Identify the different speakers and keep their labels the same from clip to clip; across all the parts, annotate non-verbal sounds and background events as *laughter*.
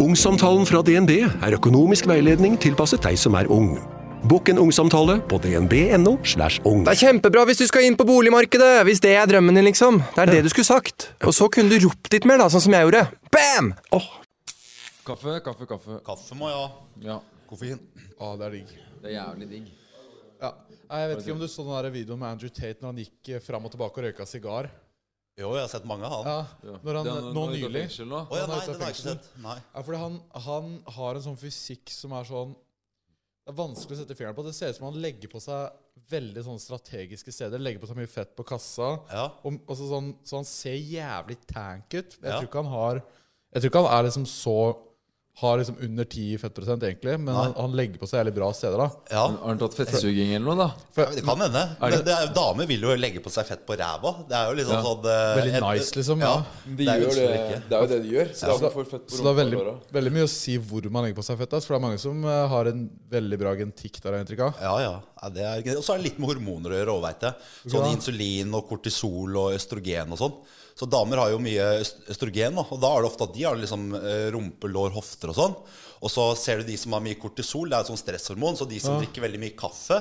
Speaker 1: Ungsamtalen fra DNB er økonomisk veiledning tilpasset deg som er ung. Bokk en ungsamtale på dnb.no. slash ung.
Speaker 2: Det er kjempebra hvis du skal inn på boligmarkedet! Hvis det er drømmen din, liksom. Det er det du skulle sagt. Og så kunne du ropt litt mer, da, sånn som jeg gjorde. Bam!
Speaker 3: Kaffe, kaffe, kaffe.
Speaker 4: Kaffe må jeg ha.
Speaker 3: Ja.
Speaker 4: Koffein.
Speaker 3: Å, det er digg.
Speaker 5: Det er jævlig digg.
Speaker 3: Ja. Nei, Jeg vet ikke om du så den der videoen med Andrew Tate når han gikk eh, fram og tilbake og røyka sigar.
Speaker 4: Jo, jeg har sett mange av han.
Speaker 3: Ja, når
Speaker 5: Det er
Speaker 3: han,
Speaker 5: noe-
Speaker 3: nå
Speaker 5: noe ut av
Speaker 3: nylig.
Speaker 5: fengsel nå.
Speaker 4: Å ja,
Speaker 3: Han er
Speaker 4: nei,
Speaker 3: ute av
Speaker 4: den har jeg ikke
Speaker 3: fengsel.
Speaker 4: sett. Nei.
Speaker 3: Ja, fordi han, han har en sånn fysikk som er sånn Det er vanskelig å sette fingeren på. Det ser ut som han legger på seg veldig sånn strategiske steder. Legger på seg mye fett på kassa.
Speaker 4: Ja.
Speaker 3: Og, og så, sånn, så han ser jævlig tank ut. Jeg
Speaker 4: Ja.
Speaker 3: tror ikke han har Jeg tror ikke han er liksom så Har liksom under 10 fettprosent, egentlig. Men han, han legger på seg jævlig bra steder, da.
Speaker 4: ja.
Speaker 5: Har han tatt fettsuging eller noe, da?
Speaker 3: For,
Speaker 4: Det kan hende.
Speaker 5: Er det-
Speaker 4: Men det er, damer vil jo legge på seg fett på ræva. Det er jo liksom
Speaker 5: Ja.
Speaker 4: sånn eh,
Speaker 3: Veldig
Speaker 4: et-
Speaker 3: nice, liksom,
Speaker 4: Ja.
Speaker 3: ja.
Speaker 6: De
Speaker 4: Det er
Speaker 6: gjør det,
Speaker 4: ønskelig ikke.
Speaker 6: det er jo det de gjør. Så det er
Speaker 3: så,
Speaker 5: Altså,
Speaker 6: derfor fett på
Speaker 3: Altså, så det er veldig,
Speaker 6: rumpa og låra.
Speaker 3: veldig mye å si hvor man legger på seg fett. ass, For det er mange som eh, har en veldig bra genetikk der, har jeg inntrykk av.
Speaker 4: Ja, ja. ja det er, ikke- og så er det litt med hormoner å gjøre òg, veit jeg. Sånn
Speaker 3: Ja.
Speaker 4: insulin og kortisol og østrogen og sånn. Så damer har jo mye øst- østrogen, da, og da er det ofte at de har liksom eh, rumpe, lår, hofter og sånn. Og så ser du de som har mye kortisol, det er et sånt stresshormon. Så de som drikker veldig mye kaffe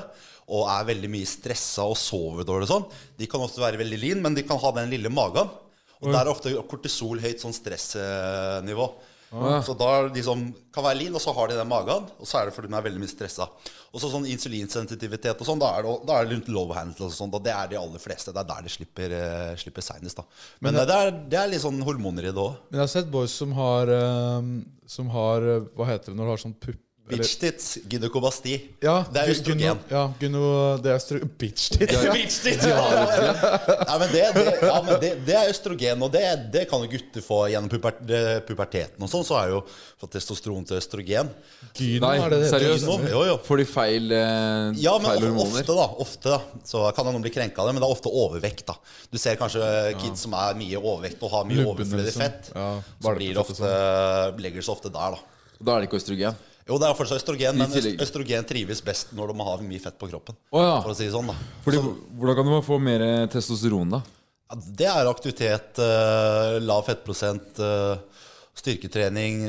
Speaker 4: og er veldig mye stressa og sover dårlig og sånn, de kan ofte være veldig lean, men de kan ha den lille magen. Og der er ofte kortisol høyt sånn stressnivå. Så da er de som kan være lean, og så har de den magen, og så er det fordi de er veldig mye stressa. Og så sånn insulinsensitivitet og sånn, da er det, da er det litt low handle og sånn, og det er de aller fleste. Det er der de slipper, eh, slipper seinest, da. Men, eh, det, er, det er litt sånn hormoner i det òg.
Speaker 3: Men jeg har sett boys som har ehm, Som har eh, Hva heter det når du har sånn pupp? eller-
Speaker 4: Bitch tits, gynekobasti.
Speaker 3: Ja,
Speaker 4: det er
Speaker 3: gy-
Speaker 4: østrogen.
Speaker 3: gyno- Ja, gyno, det er østro... *laughs* Bitch tits.
Speaker 4: *laughs* Bitch tits! *laughs* Nei, men det, det, ja, men det, det er østrogen, og det, det kan jo gutter få gjennom pubert, eh, puberteten og sånn. Så er jo fra testosteron til østrogen.
Speaker 3: Gyno,
Speaker 5: Nei,
Speaker 3: er det det heter?
Speaker 5: seriøst?
Speaker 4: Gyno, jo, jo.
Speaker 5: Får de feil, eh,
Speaker 4: Ja, men
Speaker 5: feil
Speaker 4: of-
Speaker 5: hormoner?
Speaker 4: ofte, da. Ofte da, så kan noen bli krenka av det, men det er ofte overvekt. da Du ser kanskje kids som er mye overvekt og har mye
Speaker 3: Lubben,
Speaker 4: overflødig
Speaker 3: liksom.
Speaker 4: fett.
Speaker 3: Ja,
Speaker 4: så blir det
Speaker 3: valpefett og
Speaker 4: ofte,
Speaker 5: sånn.
Speaker 4: legger seg ofte der, da.
Speaker 5: Da er det ikke østrogen.
Speaker 4: Jo, det er fortsatt østrogen, men øst-
Speaker 5: tillegg.
Speaker 4: østrogen trives best når de har mye fett på kroppen.
Speaker 5: Å, ja.
Speaker 4: For å si det sånn, da.
Speaker 5: Fordi, hvordan kan du få mer eh, testosteron, da?
Speaker 4: Ja, det er aktivitet, eh, lav fettprosent, eh, styrketrening,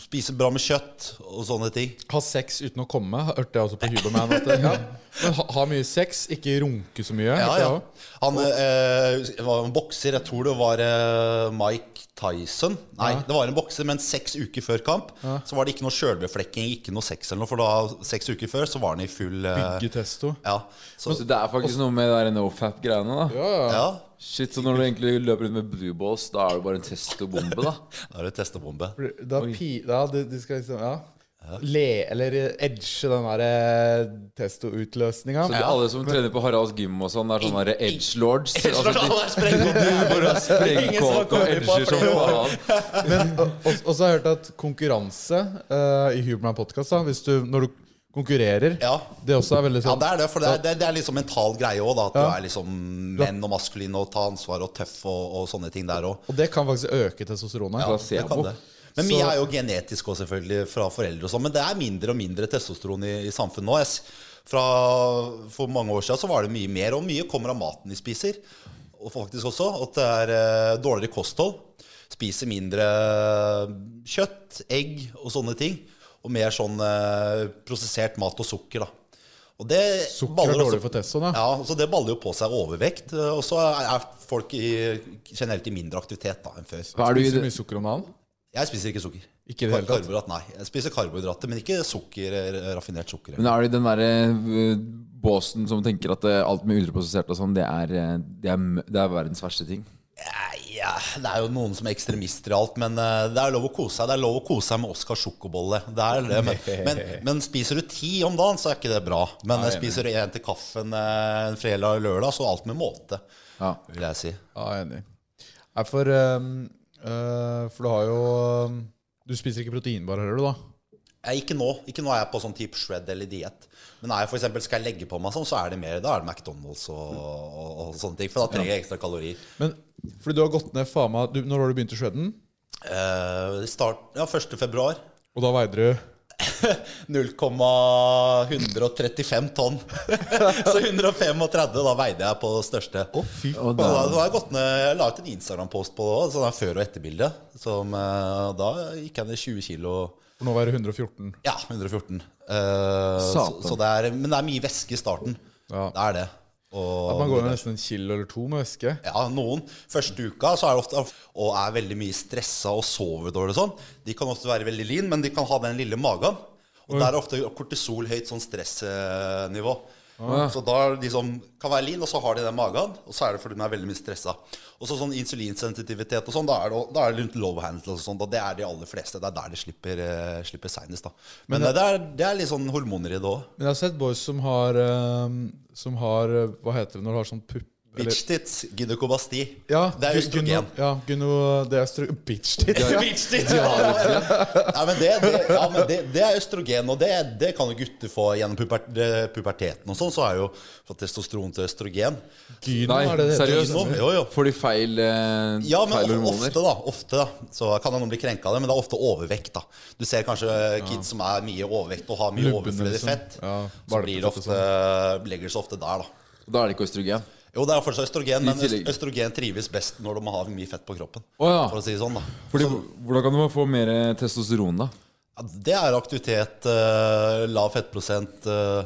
Speaker 4: spise bra med kjøtt og sånne ting.
Speaker 3: Ha sex uten å komme, hørte jeg også på Huberman. At det, ja. Men ha, ha mye sex, ikke runke så mye.
Speaker 4: Ja,
Speaker 3: hørte jeg
Speaker 4: ja.
Speaker 3: også.
Speaker 4: Han eh, var en bokser, jeg tror det var eh, Mike Tyson. Nei, det var en bokser, men seks uker før kamp så var det ikke noe sjølbeflekking, ikke noe sex eller noe, for da, seks uker før så var han i full eh,
Speaker 3: Bygge testo.
Speaker 4: Ja. Så,
Speaker 5: Så det er faktisk noe med det der nofap-greiene, da.
Speaker 4: ja.
Speaker 5: Shit, så når du egentlig løper rundt med blue balls, da er det bare en testobombe, da.
Speaker 4: Da er det testebombe.
Speaker 3: Da pi... Ja, de, de skal liksom Ja. Le, eller edge den der eh, testo-utløsninga.
Speaker 5: Så det er alle som trener på Haralds gym og sånn, det er sånne der edge lords. *laughs* Altså, de *laughs*
Speaker 6: *laughs*
Speaker 5: sprengkåte og edger som faen.
Speaker 3: Og og så har jeg hørt at konkurranse eh, i Huberman Podcast, da, hvis du, når du konkurrerer,
Speaker 4: Ja.
Speaker 3: det også er veldig
Speaker 4: Ja,
Speaker 3: sånn
Speaker 4: det er det, for det er, det er, det er liksom mental greie òg, da. At
Speaker 3: Ja.
Speaker 4: du er liksom menn og maskulin og ta ansvar og tøff og, og sånne ting der òg.
Speaker 3: Og det kan faktisk øke testosteronet.
Speaker 5: Ja.
Speaker 4: Det kan det. Men mye er jo genetisk òg, selvfølgelig, fra foreldre og sånn. Men det er mindre og mindre testosteron i, i samfunnet nå. Jeg s- Fra For mange år siden så var det mye mer, og mye kommer av maten de spiser. Og faktisk også at det er eh, dårligere kosthold. Spiser mindre eh, kjøtt, egg og sånne ting. Og mer sånn eh, prosessert mat og sukker, da. Og det
Speaker 3: Sukker
Speaker 4: baller
Speaker 3: er
Speaker 4: også-
Speaker 3: dårlig for testoen, ja.
Speaker 4: ja, så Det baller jo på seg overvekt. eh, Og så er er folk i, generelt i mindre aktivitet da enn før.
Speaker 5: Hva er du i
Speaker 3: Spiser du
Speaker 5: det?
Speaker 3: mye sukker om dagen?
Speaker 4: Jeg spiser ikke sukker.
Speaker 3: Ikke i det hele tatt?
Speaker 4: Karbohydrat, nei. Jeg spiser karbohydrater, men ikke sukker, eh, raffinert sukker.
Speaker 5: Men er det den derre eh, båsen som tenker at eh, alt med ultraprosessert og sånn, det er, eh, det, er, m- det er verdens verste ting?
Speaker 4: Nei, ja, det er jo noen som er ekstremister i alt, men eh, det er lov å kose seg. Det er lov å kose seg med Oscar sjokobolle. Det er det, men, men,
Speaker 3: *laughs*
Speaker 4: men spiser du ti om dagen, så er ikke det bra. Men eh, spiser du én til kaffen eh, en fredag eller lørdag, så alt med måte,
Speaker 5: Ja.
Speaker 4: vil jeg si.
Speaker 3: Ja, jeg er enig. Nei, for, ehm, eh, for du har jo ehm, Du spiser ikke proteinbar, hører du, da?
Speaker 4: Eh, ikke nå. Ikke nå er jeg på sånn type shred eller diett. Men er jeg for eksempel, skal jeg legge på meg sånn, så er det mer. Da er det McDonald's og, og, og sånne ting. For da trenger jeg ekstra kalorier.
Speaker 3: Men fordi du har gått ned faen meg du, Når har du begynt i shredden?
Speaker 4: Eh, start, ja, 1. februar.
Speaker 3: Og da veide du
Speaker 4: 0,135 tonn. *laughs* Så 135 da veide jeg på det største.
Speaker 3: Å, fy
Speaker 5: Og
Speaker 4: Så
Speaker 5: da,
Speaker 4: da, da har jeg gått ned, jeg la ut en Instagram-post på det også, sånn her før- og etterbilde. Som, eh, da gikk jeg ned 20 kilo.
Speaker 3: For nå var det 114.
Speaker 4: Ja, 114. Eh, så,
Speaker 5: Satan.
Speaker 4: så det er, men det er mye væske i starten.
Speaker 3: Ja.
Speaker 4: Det er det. Og,
Speaker 3: At man går ned nesten en kilo eller to med væske.
Speaker 4: ja, noen. Første uka så er det ofte og er veldig mye stressa og sover dårlig og sånn. De kan ofte være veldig lean, men de kan ha den lille magen. Og der er ofte kortisol høyt sånn stressnivå. Så da er de som kan være lean, og så har de den magen. Og så er det fordi de er veldig mye stressa. Og så sånn insulinsensitivitet og sånn, da er det, da er det rundt low handle og sånn. Og det er de aller fleste. Det er der de slipper, eh, slipper seinest, da. Men, det, er, det er litt sånn hormoner i det òg.
Speaker 3: Men jeg har sett boys som har eh, Som har eh, Hva heter det når du har sånn pupp eller-
Speaker 4: Bitch tits, gynekobasti.
Speaker 3: Ja,
Speaker 4: det er østrogen.
Speaker 3: Gyno, ja, gyno, det er østro- Bitch tits.
Speaker 4: *laughs* Bitch tits! Nei, men det, det, ja, men det, det er østrogen, og det, det kan jo gutter få gjennom puber, eh, puberteten og sånn. Så er jo fra testosteron til østrogen.
Speaker 3: Gyno,
Speaker 5: Nei,
Speaker 3: er det det? heter?
Speaker 5: seriøst?
Speaker 4: Gyno, jo, jo.
Speaker 5: Får de feil, eh,
Speaker 4: Ja, men
Speaker 5: feil
Speaker 4: of-
Speaker 5: hormoner?
Speaker 4: ofte, da. Ofte, da. Så kan noen bli krenka av det, men det er ofte overvekt, da. Du ser kanskje kids som er mye overvekt og har mye
Speaker 3: Lubben,
Speaker 4: overflødig
Speaker 3: liksom.
Speaker 4: fett.
Speaker 3: Ja,
Speaker 4: så blir det
Speaker 3: valpefett og
Speaker 4: ofte,
Speaker 5: sånn.
Speaker 4: legger det seg ofte der, da.
Speaker 5: Da er det ikke østrogen.
Speaker 4: Jo, det er fortsatt østrogen, men
Speaker 5: tillegg.
Speaker 4: øst- østrogen trives best når de har mye fett på kroppen.
Speaker 5: Å, ja.
Speaker 4: For å si det sånn, da.
Speaker 5: Fordi,
Speaker 4: Så-
Speaker 5: hvordan kan du få mer eh, testosteron, da?
Speaker 4: Ja, det er aktivitet, eh, lav fettprosent, eh,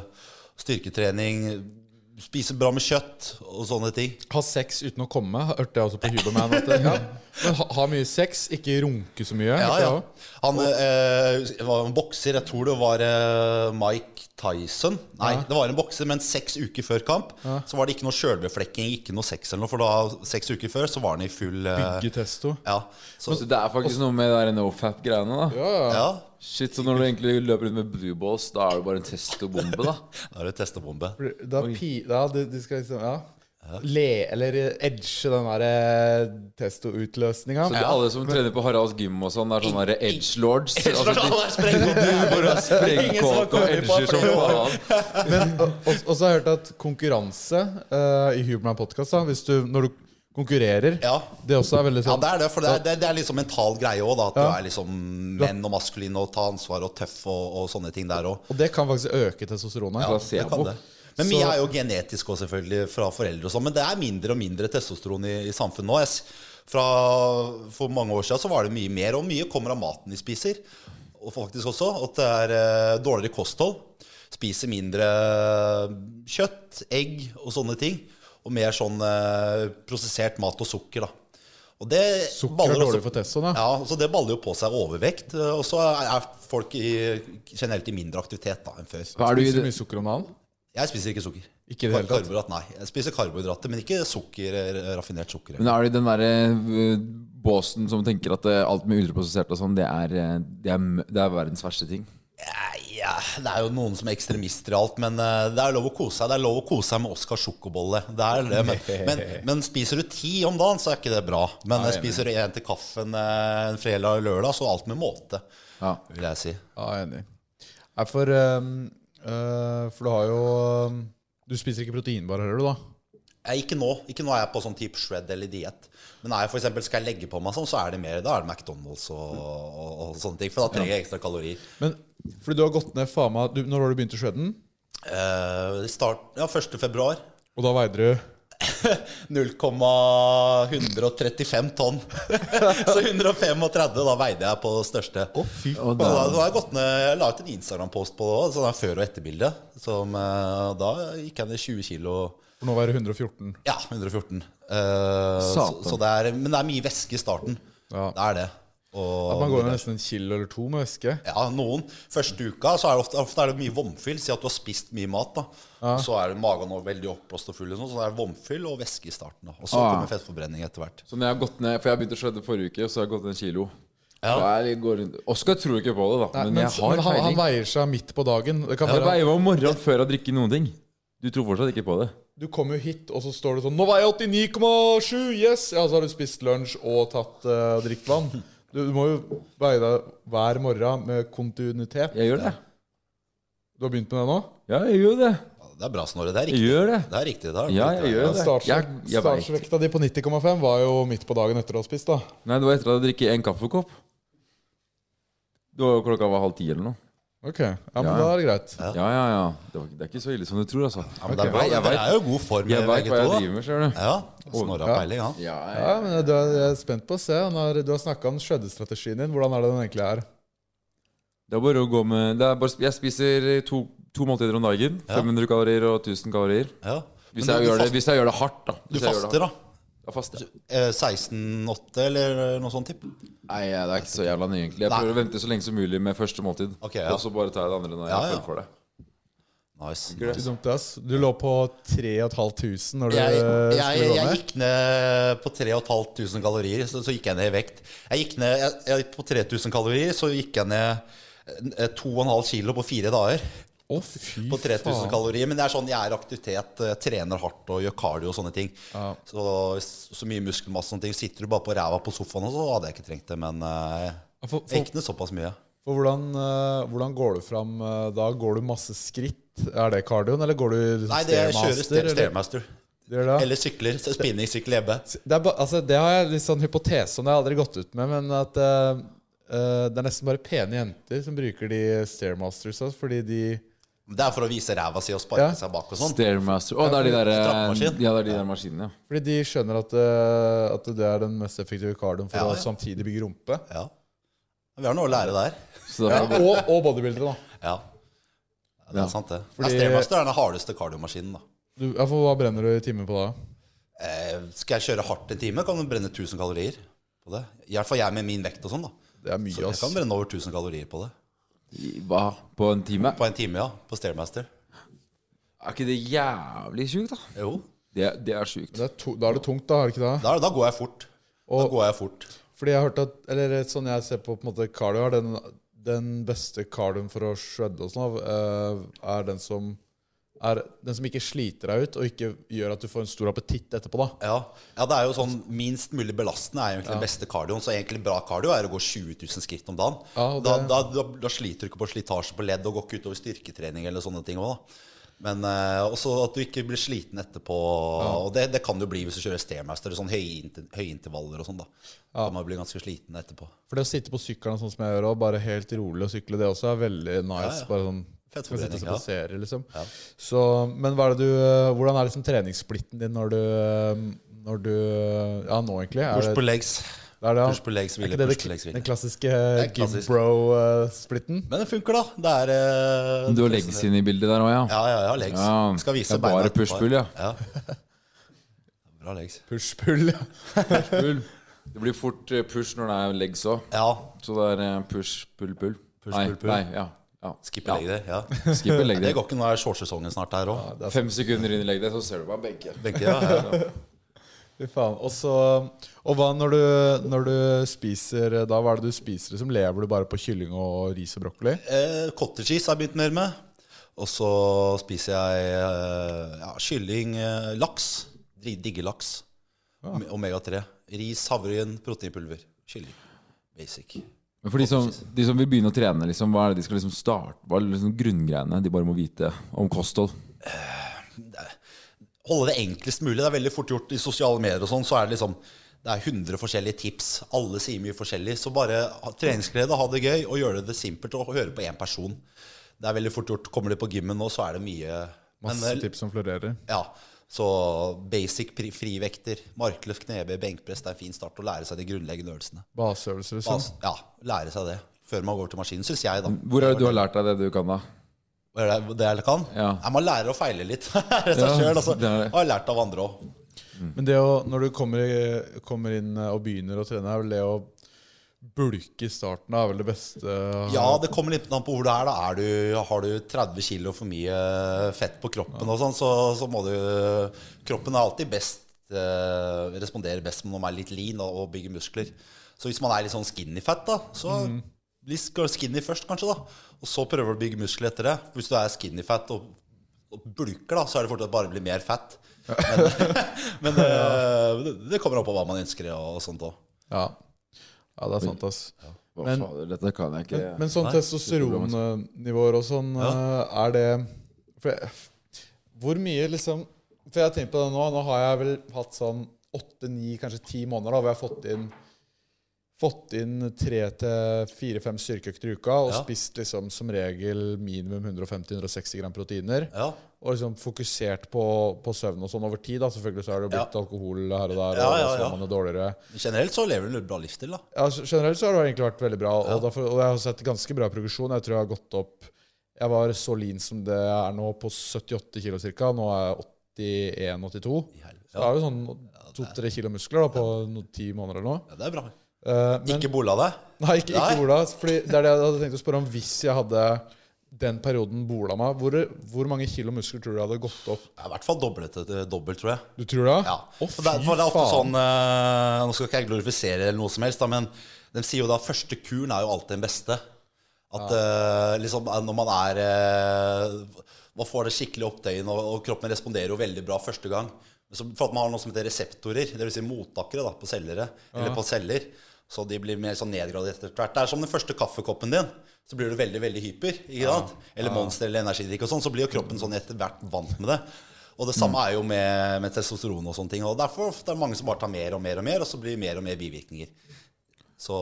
Speaker 4: styrketrening, spise bra med kjøtt og sånne ting.
Speaker 3: Ha sex uten å komme, hørte jeg også på Huberman. At det, ja. Men ha, ha mye sex, ikke runke så mye.
Speaker 4: Ja,
Speaker 3: hørte jeg
Speaker 4: ja.
Speaker 3: også.
Speaker 4: Han eh, var en bokser, jeg tror det var eh, Mike Tyson. Nei, det var en bokser, men seks uker før kamp så var det ikke noe sjølbeflekking, ikke noe sex eller noe, for da, seks uker før så var han i full eh,
Speaker 3: Bygge testo.
Speaker 4: Ja, så,
Speaker 5: Så det er faktisk noe med det der nofap-greiene, da.
Speaker 3: Ja, ja.
Speaker 4: ja.
Speaker 5: Shit, Så når du egentlig løper rundt med blue balls, da er du bare en testobombe, da?
Speaker 4: Da er det testebombe.
Speaker 3: Da pi, ja, de, de skal liksom Ja. Le, eller edge den der eh, testo-utløsninga.
Speaker 5: Så det er alle som trener på Haralds gym og sånn, det er sånne der edge lords.
Speaker 4: *laughs*
Speaker 5: Altså, de
Speaker 4: Bare
Speaker 5: bare sprengkåte og edger som faen.
Speaker 3: Og og så har jeg hørt at konkurranse eh, i Huberman Podcast, da, hvis du, når du konkurrerer,
Speaker 4: Ja.
Speaker 3: det også er veldig
Speaker 4: Ja,
Speaker 3: sånn
Speaker 4: det er det, for det er, det, det er liksom mental greie òg, da. At
Speaker 3: Ja.
Speaker 4: du er liksom menn og maskulin og ta ansvar og tøff og, og sånne ting der òg.
Speaker 3: Og det kan faktisk øke testosteronet.
Speaker 5: Ja. placebo.
Speaker 4: Men
Speaker 3: Så-
Speaker 4: mye er jo genetisk òg, selvfølgelig, fra foreldre og sånn. Men det er mindre og mindre testosteron i, i samfunnet nå. Jeg s- Fra For mange år siden så var det mye mer, og mye kommer av maten vi spiser. Og faktisk også at det er eh, dårligere kosthold. Spiser mindre eh, kjøtt, egg og sånne ting. Og mer sånn eh, prosessert mat og sukker, da. Og det
Speaker 3: Sukker
Speaker 4: baller
Speaker 3: er
Speaker 4: også-
Speaker 3: dårlig for testoen, ja.
Speaker 4: ja, så Det baller jo på seg overvekt, eh, og så er folk i, generelt i mindre aktivitet da enn før.
Speaker 5: Hva er du i
Speaker 3: Spiser du
Speaker 5: det?
Speaker 3: mye sukker om dagen?
Speaker 4: Jeg spiser ikke sukker.
Speaker 3: Ikke i det hele tatt?
Speaker 4: Karbohydrat, nei. Jeg spiser karbohydrater, men ikke sukker, eh, raffinert sukker.
Speaker 5: Men er du i den derre eh, båsen som tenker at eh, alt med ultraprosessert og sånn, det er, eh, det, er, m- det er verdens verste ting?
Speaker 4: Nei, ja, det er jo noen som er ekstremister i alt, men eh, det er lov å kose seg. Det er lov å kose seg med Oscar sjokobolle. Det er det, men,
Speaker 3: *laughs*
Speaker 4: men, men spiser du ti om dagen, så er ikke det bra. Men eh, spiser du én til kaffen eh, en fredag og lørdag, så alt med måte,
Speaker 5: Ja.
Speaker 4: vil jeg si.
Speaker 3: Ja, jeg er enig. Nei, for, ehm, eh, for du har jo ehm, Du spiser ikke proteinbar, hører du, da?
Speaker 4: Nei, ikke nå. Ikke nå er jeg på sånn type shred eller diett. Men er jeg for eksempel, skal jeg legge på meg sånn, så er det mer da er det McDonald's og, og, og sånne ting. For da trenger jeg ekstra kalorier.
Speaker 3: Men fordi du har gått ned faen meg du, Når var det du begynte å shredden?
Speaker 4: Eh, start ja, 1. februar.
Speaker 3: Og da veide du
Speaker 4: 0,135 tonn. *laughs* så 135 da veide jeg på det største.
Speaker 3: Å, fy
Speaker 5: Og
Speaker 4: Og da,
Speaker 5: da,
Speaker 4: da har jeg gått ned, jeg la ut en Instagram-post på det også, sånn her før- og etterbilde. Som, eh, da gikk jeg ned 20 kilo.
Speaker 3: For nå var det 114.
Speaker 4: Ja, 114. Eh, så,
Speaker 5: Satan.
Speaker 4: så det er, men det er mye væske i starten.
Speaker 3: Ja.
Speaker 4: Det er det. Og,
Speaker 3: At man går ned nesten en kilo eller to med væske.
Speaker 4: Ja, noen. Første uka så er det ofte, ofte er det mye vomfyll. Si at du har spist mye mat. da. Så er det magen nå veldig oppblåst og full, og sånn, så det er vomfyll og væske i starten. da. Og så
Speaker 5: Ah.
Speaker 4: kommer fettforbrenning etter hvert.
Speaker 5: så når jeg har gått ned, For jeg begynte å shredde forrige uke, og så har jeg gått ned en kilo.
Speaker 4: Ja.
Speaker 5: Da er jeg går rundt- Oskar tror ikke på det, da.
Speaker 3: Nei,
Speaker 5: men, jeg har
Speaker 3: men han,
Speaker 5: peiling.
Speaker 3: han veier seg midt på dagen. Det kan
Speaker 5: Jeg
Speaker 3: være,
Speaker 5: veier meg om morgenen før jeg drikker noen ting. Du tror fortsatt ikke på det?
Speaker 3: du kommer jo hit, og så står det sånn 'Nå veier jeg 89,7! Yes!' Ja, så har du spist lunsj og tatt eh, drikket vann. Du, du må jo veie deg hver morgen med kontinuitet.
Speaker 5: Jeg gjør det.
Speaker 3: Du har begynt med det nå?
Speaker 5: Ja, jeg gjør det.
Speaker 4: Ja, Det er bra, Snorre. Det er
Speaker 5: Jeg
Speaker 4: riktig.
Speaker 5: gjør det.
Speaker 4: Det er riktig, det er
Speaker 5: Ja,
Speaker 4: riktig.
Speaker 5: jeg gjør det. Jeg,
Speaker 3: Startsvek-
Speaker 5: jeg vet.
Speaker 3: Startsvekta di på 90,5 var jo midt på dagen etter å ha spist, da.
Speaker 5: Nei, det var etter at jeg drikket en kaffekopp. Det var jo klokka var halv ti eller noe.
Speaker 3: Ok, ja, men
Speaker 5: Ja,
Speaker 3: da
Speaker 5: ja.
Speaker 3: er det greit.
Speaker 5: Ja, ja, ja. Det, var, det er ikke så ille som du tror, altså.
Speaker 4: Ja, men det er bra.
Speaker 5: Jeg
Speaker 4: Jeg,
Speaker 5: vet-
Speaker 4: er jo i god form. eh,
Speaker 5: Jeg veit
Speaker 4: begge
Speaker 5: hva jeg
Speaker 4: to, da.
Speaker 5: driver med, ser du.
Speaker 4: Ja, Snorre har peiling, han.
Speaker 5: Ja,
Speaker 3: Ja, men jeg, jeg er spent på å se. Han har, du har snakka om shreddestrategien din. Hvordan er det den egentlig er?
Speaker 5: Det er bare å gå med det er bare, Jeg spiser to, to måltider om dagen. 500 kalorier og 1000 kalorier.
Speaker 4: Ja.
Speaker 5: Hvis
Speaker 4: Men
Speaker 5: jeg,
Speaker 4: du,
Speaker 5: gjør
Speaker 4: du,
Speaker 5: det, hvis jeg gjør det hardt, da.
Speaker 4: fast,
Speaker 5: Hvis
Speaker 4: du
Speaker 5: jeg gjør det hardt.
Speaker 4: faster, da?
Speaker 5: Da faster jeg.
Speaker 4: Eh, 16-8 eller noe sånt? Tipp.
Speaker 5: Nei, det er ikke så jævla nøye, egentlig. Jeg
Speaker 4: Nei.
Speaker 5: prøver å vente så lenge som mulig med første måltid.
Speaker 4: Ok, ja.
Speaker 5: Og så bare tar jeg det andre når jeg
Speaker 4: Ja,
Speaker 5: har
Speaker 4: ja.
Speaker 5: føler for det.
Speaker 4: Nice.
Speaker 3: Du, dumt, ass. du lå på 3500 når du
Speaker 4: Jeg,
Speaker 3: eh,
Speaker 4: jeg,
Speaker 3: skulle gå
Speaker 4: jeg
Speaker 3: ned.
Speaker 4: gikk ned på 3500 kalorier, så, så gikk jeg ned i vekt. Jeg gikk ned jeg, jeg, På 3000 kalorier så gikk jeg ned eh, 2,5 kilo på fire dager.
Speaker 3: Å, fy
Speaker 4: På 3000
Speaker 3: faen.
Speaker 4: kalorier. Men det er sånn jeg er i aktivitet, eh, trener hardt og gjør cardio og sånne ting. Så, så mye muskelmasse og sånne ting. Sitter du bare på ræva på sofaen, og så hadde jeg ikke trengt det. Men eh,
Speaker 3: Ja, For,
Speaker 4: jeg
Speaker 3: for,
Speaker 4: gikk ned såpass mye.
Speaker 3: for hvordan, eh, hvordan går du fram eh, da? Går du masse skritt? Er det kardioen, eller går du liksom
Speaker 4: Nei, det jeg kjører stair- Stairmaster.
Speaker 3: Gjør det?
Speaker 4: Eller sykler. så Spinningsykkel hjemme.
Speaker 3: det, er ba, altså, det har jeg litt sånn hypotese om, det har jeg aldri gått ut med, men at eh, eh, det er nesten bare pene jenter som bruker de Stairmastersa, fordi de
Speaker 4: Det er for å vise ræva si og sparke
Speaker 3: Ja.
Speaker 4: seg bak og sånn.
Speaker 5: Stairmaster Å, det er de der,
Speaker 4: Trappemaskin.
Speaker 5: ja, det er de der maskinene, ja.
Speaker 3: Fordi de skjønner at, eh, at det er den mest effektive kardioen for
Speaker 4: Ja,
Speaker 3: å
Speaker 4: ja.
Speaker 3: samtidig bygge rumpe.
Speaker 4: Ja. Vi har noe å lære der.
Speaker 5: Så da
Speaker 3: Ja,
Speaker 5: får jeg
Speaker 3: og, og bodybuildere, da.
Speaker 4: Ja. Ja, Det
Speaker 5: Ja.
Speaker 4: er sant, det.
Speaker 3: Fordi-
Speaker 4: Ja, Stairmaster er den hardeste kardiomaskinen, da.
Speaker 3: Du, ja, for hva brenner du i timen på da?
Speaker 4: Eh, skal jeg kjøre hardt en time, kan du brenne 1000 kalorier på det. I hvert fall jeg med min vekt og sånn, da.
Speaker 3: Det er
Speaker 4: Så
Speaker 3: mye,
Speaker 4: jeg kan
Speaker 3: ass.
Speaker 4: brenne over 1000 kalorier på det.
Speaker 5: gå- Hva? På en time?
Speaker 4: På en time, ja. På Stairmaster.
Speaker 5: Er ikke det jævlig sjukt, da?
Speaker 4: Jo.
Speaker 5: Det, det er sjukt.
Speaker 3: Det er to, da er det tungt, da, er det ikke det?
Speaker 4: Da, da går jeg fort. Da
Speaker 3: Og-
Speaker 4: går jeg fort.
Speaker 3: Fordi jeg har hørt at Eller sånn jeg ser på, på en måte cardio, er den, den beste cardioen for å shredde og sånn, eh, er den som er den som ikke sliter deg ut, og ikke gjør at du får en stor appetitt etterpå, da.
Speaker 4: Ja. ja, det er jo
Speaker 3: Altså-
Speaker 4: sånn minst mulig belastende er jo egentlig den beste kardioen. Så egentlig bra kardio er å gå 20 000 skritt om dagen.
Speaker 3: Ja, og
Speaker 4: da,
Speaker 3: det-
Speaker 4: da, da, da sliter du ikke på slitasje på ledd og går ikke utover styrketrening eller sånne ting òg, da. Men eh, også at du ikke blir sliten etterpå. Og det, det kan du bli hvis du kjører stairmaster eller sånn høyinter- høyintervaller og sånn, da. Da kan man bli ganske sliten etterpå.
Speaker 3: For det å sitte på sykkelen sånn som jeg gjør, og bare helt rolig og sykle, det også er veldig nice. Bare sånn
Speaker 4: Fett
Speaker 3: kan sitte og se på
Speaker 4: forbrenning,
Speaker 3: serier, liksom. Så, men hva er det du, hvordan er liksom treningssplitten din når du, eh, når du eh, Ja, nå, egentlig? Er
Speaker 4: Push
Speaker 3: det,
Speaker 4: på legs.
Speaker 3: det er det, ja.
Speaker 4: Push på legs,
Speaker 3: er
Speaker 4: hvile,
Speaker 3: ikke det,
Speaker 4: push på
Speaker 3: det,
Speaker 4: legs, hvile.
Speaker 3: den klassiske eh,
Speaker 4: er klassisk.
Speaker 3: gimbro-splitten?
Speaker 4: Men det funker, da. Det er eh,
Speaker 5: Du har
Speaker 4: det-
Speaker 5: legs inn i bildet der òg, ja?
Speaker 4: Ja, ja, jeg har legs.
Speaker 5: Ja,
Speaker 4: Skal vise
Speaker 5: det er bare
Speaker 4: beina etterpå.
Speaker 5: push-pull, ja.
Speaker 4: *laughs* Bra legs.
Speaker 3: Push-pull.
Speaker 5: Pull. Det blir fort eh, push når det er legs òg.
Speaker 4: Ja.
Speaker 5: Så det er eh, push, pull, pull.
Speaker 4: Push,
Speaker 5: nei,
Speaker 4: pull, pull.
Speaker 5: nei, ja. ja.
Speaker 4: Skippe legg der. Ja.
Speaker 5: ja. Skipper *laughs*
Speaker 4: Nei,
Speaker 5: legg
Speaker 4: Det
Speaker 5: day.
Speaker 4: går ikke, nå er shortsesongen snart her òg.
Speaker 5: Fem sekunder inn i legg day, så ser du bare begge.
Speaker 4: Begge, ja, ja.
Speaker 5: *laughs*
Speaker 3: Fy faen. Og så Og hva når du, når du spiser da? Hva er det du spiser? Liksom? Lever du bare på kylling og ris og brokkoli?
Speaker 4: Eh, Cottage cheese har jeg begynt mer med. Og så spiser jeg eh, ja, kylling, eh, laks. Dri- Digger laks. Ome- Omega-3. Ris, havregryn, proteinpulver. Kylling. Basic.
Speaker 5: Men for de som, de som vil begynne å trene, liksom, hva er det de skal liksom starte Hva er liksom grunngreiene de bare må vite om kosthold?
Speaker 4: holde det enklest mulig. Det er veldig fort gjort i sosiale medier og sånn. Så er det liksom det er 100 forskjellige tips. Alle sier mye forskjellig. Så bare ha treningsglede, ha det gøy, og gjøre det simpelt og høre på én person. Det er veldig fort gjort. Kommer du på gymmen nå, så er det mye men, eh,
Speaker 3: Masse tips som florerer.
Speaker 4: Ja, så basic pri- frivekter, markløft, knebøy, benkpress. Det er en fin start å lære seg de grunnleggende øvelsene.
Speaker 3: Baseøvelser,
Speaker 5: Sånn.
Speaker 3: liksom.
Speaker 4: Altså, ja, lære seg det før man går til maskinen, syns jeg, da.
Speaker 5: Hvor er det du har lært deg det du kan, da?
Speaker 4: Hva er det- det jeg kan?
Speaker 5: Ja.
Speaker 4: Nei, man lærer å feile litt. *laughs* Rett og
Speaker 5: Ja,
Speaker 4: slett, altså.
Speaker 5: det er det.
Speaker 4: Og har lært av andre òg.
Speaker 3: Men det å, når du kommer, i- kommer inn og begynner å trene, er vel det å bulke i starten er vel det beste?
Speaker 4: Ja, det kommer litt an på hvor du er. da er du, Har du 30 kilo for mye fett på kroppen, og sånn, så, så må du Kroppen er alltid best eh, responderer best når man er litt lean og, og bygger muskler. Så hvis man er litt sånn skinny fat, da, så bli sk- skinny først, kanskje, da. Og så prøver du å bygge muskler etter det. Hvis du er skinny fat og, og bulker, da, så er det fortsatt bare å bli mer fett. Men, *laughs* men eh, det, det kommer an på hva man ønsker og, og sånt òg.
Speaker 3: Ja. ja, det er sant, ass.
Speaker 5: Hva
Speaker 3: Men-
Speaker 5: fader, dette kan jeg ikke.
Speaker 3: Men, men sånn testosteronnivåer og sånn, eh, er det for jeg, Hvor mye liksom For jeg har tenkt på det nå. Nå har jeg vel hatt sånn åtte, ni, kanskje ti måneder da, hvor jeg har fått inn fått inn tre til fire-fem styrkeøkter i uka og
Speaker 4: Ja.
Speaker 3: spist liksom som regel minimum 150-160 gram proteiner.
Speaker 4: Ja.
Speaker 3: Og liksom fokusert på, på søvn og sånn over tid. da Selvfølgelig så har det blitt alkohol her og der,
Speaker 4: Ja,
Speaker 3: og
Speaker 4: ja,
Speaker 3: så
Speaker 4: ja.
Speaker 3: er man jo dårligere.
Speaker 4: Men Generelt så lever du en bra livsstil, da.
Speaker 3: Ja, så generelt så har det egentlig vært veldig bra, og, derfor, og jeg har sett ganske bra progresjon. Jeg tror jeg har gått opp Jeg var så lean som det jeg er nå, på 78 kilo ca. Nå er jeg 81-82. Så jeg har jo sånn to-tre kilo muskler da, på noen ti måneder eller noe.
Speaker 4: Ja, det er bra.
Speaker 3: Eh, men,
Speaker 4: Ikke bola deg.
Speaker 3: Nei, ikke,
Speaker 4: Nei.
Speaker 3: ikke bola. Fordi det er det jeg hadde tenkt å spørre om hvis jeg hadde den perioden bola meg. Hvor, hvor mange kilo muskler tror du jeg hadde gått opp?
Speaker 4: Ja, I hvert fall doblet det til dobbelt, tror jeg.
Speaker 3: Du tror det?
Speaker 4: Ja.
Speaker 3: Å,
Speaker 4: for det, er- for det er ofte sånn eh, Nå skal ikke jeg glorifisere eller noe som helst, da, men de sier jo da første kuren er jo alltid den beste. At eh, liksom eh, når man er eh, Man får det skikkelig opptøyen, og, og kroppen responderer jo veldig bra første gang. Men så, for at man har noe som heter reseptorer, dvs. Si mottakere da, på cellere, eller på celler. Så de blir mer sånn nedgradert etter hvert. Det er som den første kaffekoppen din. Så blir du veldig veldig hyper. ikke sant? Eller monster eller energidrikk og sånn. Så blir jo kroppen sånn etter hvert vant med det. Og det
Speaker 3: Mm.
Speaker 4: samme er jo med, med testosteron og sånne ting. Og derfor ofte er det mange som bare tar mer og mer og mer, og så blir det mer og mer bivirkninger. Så,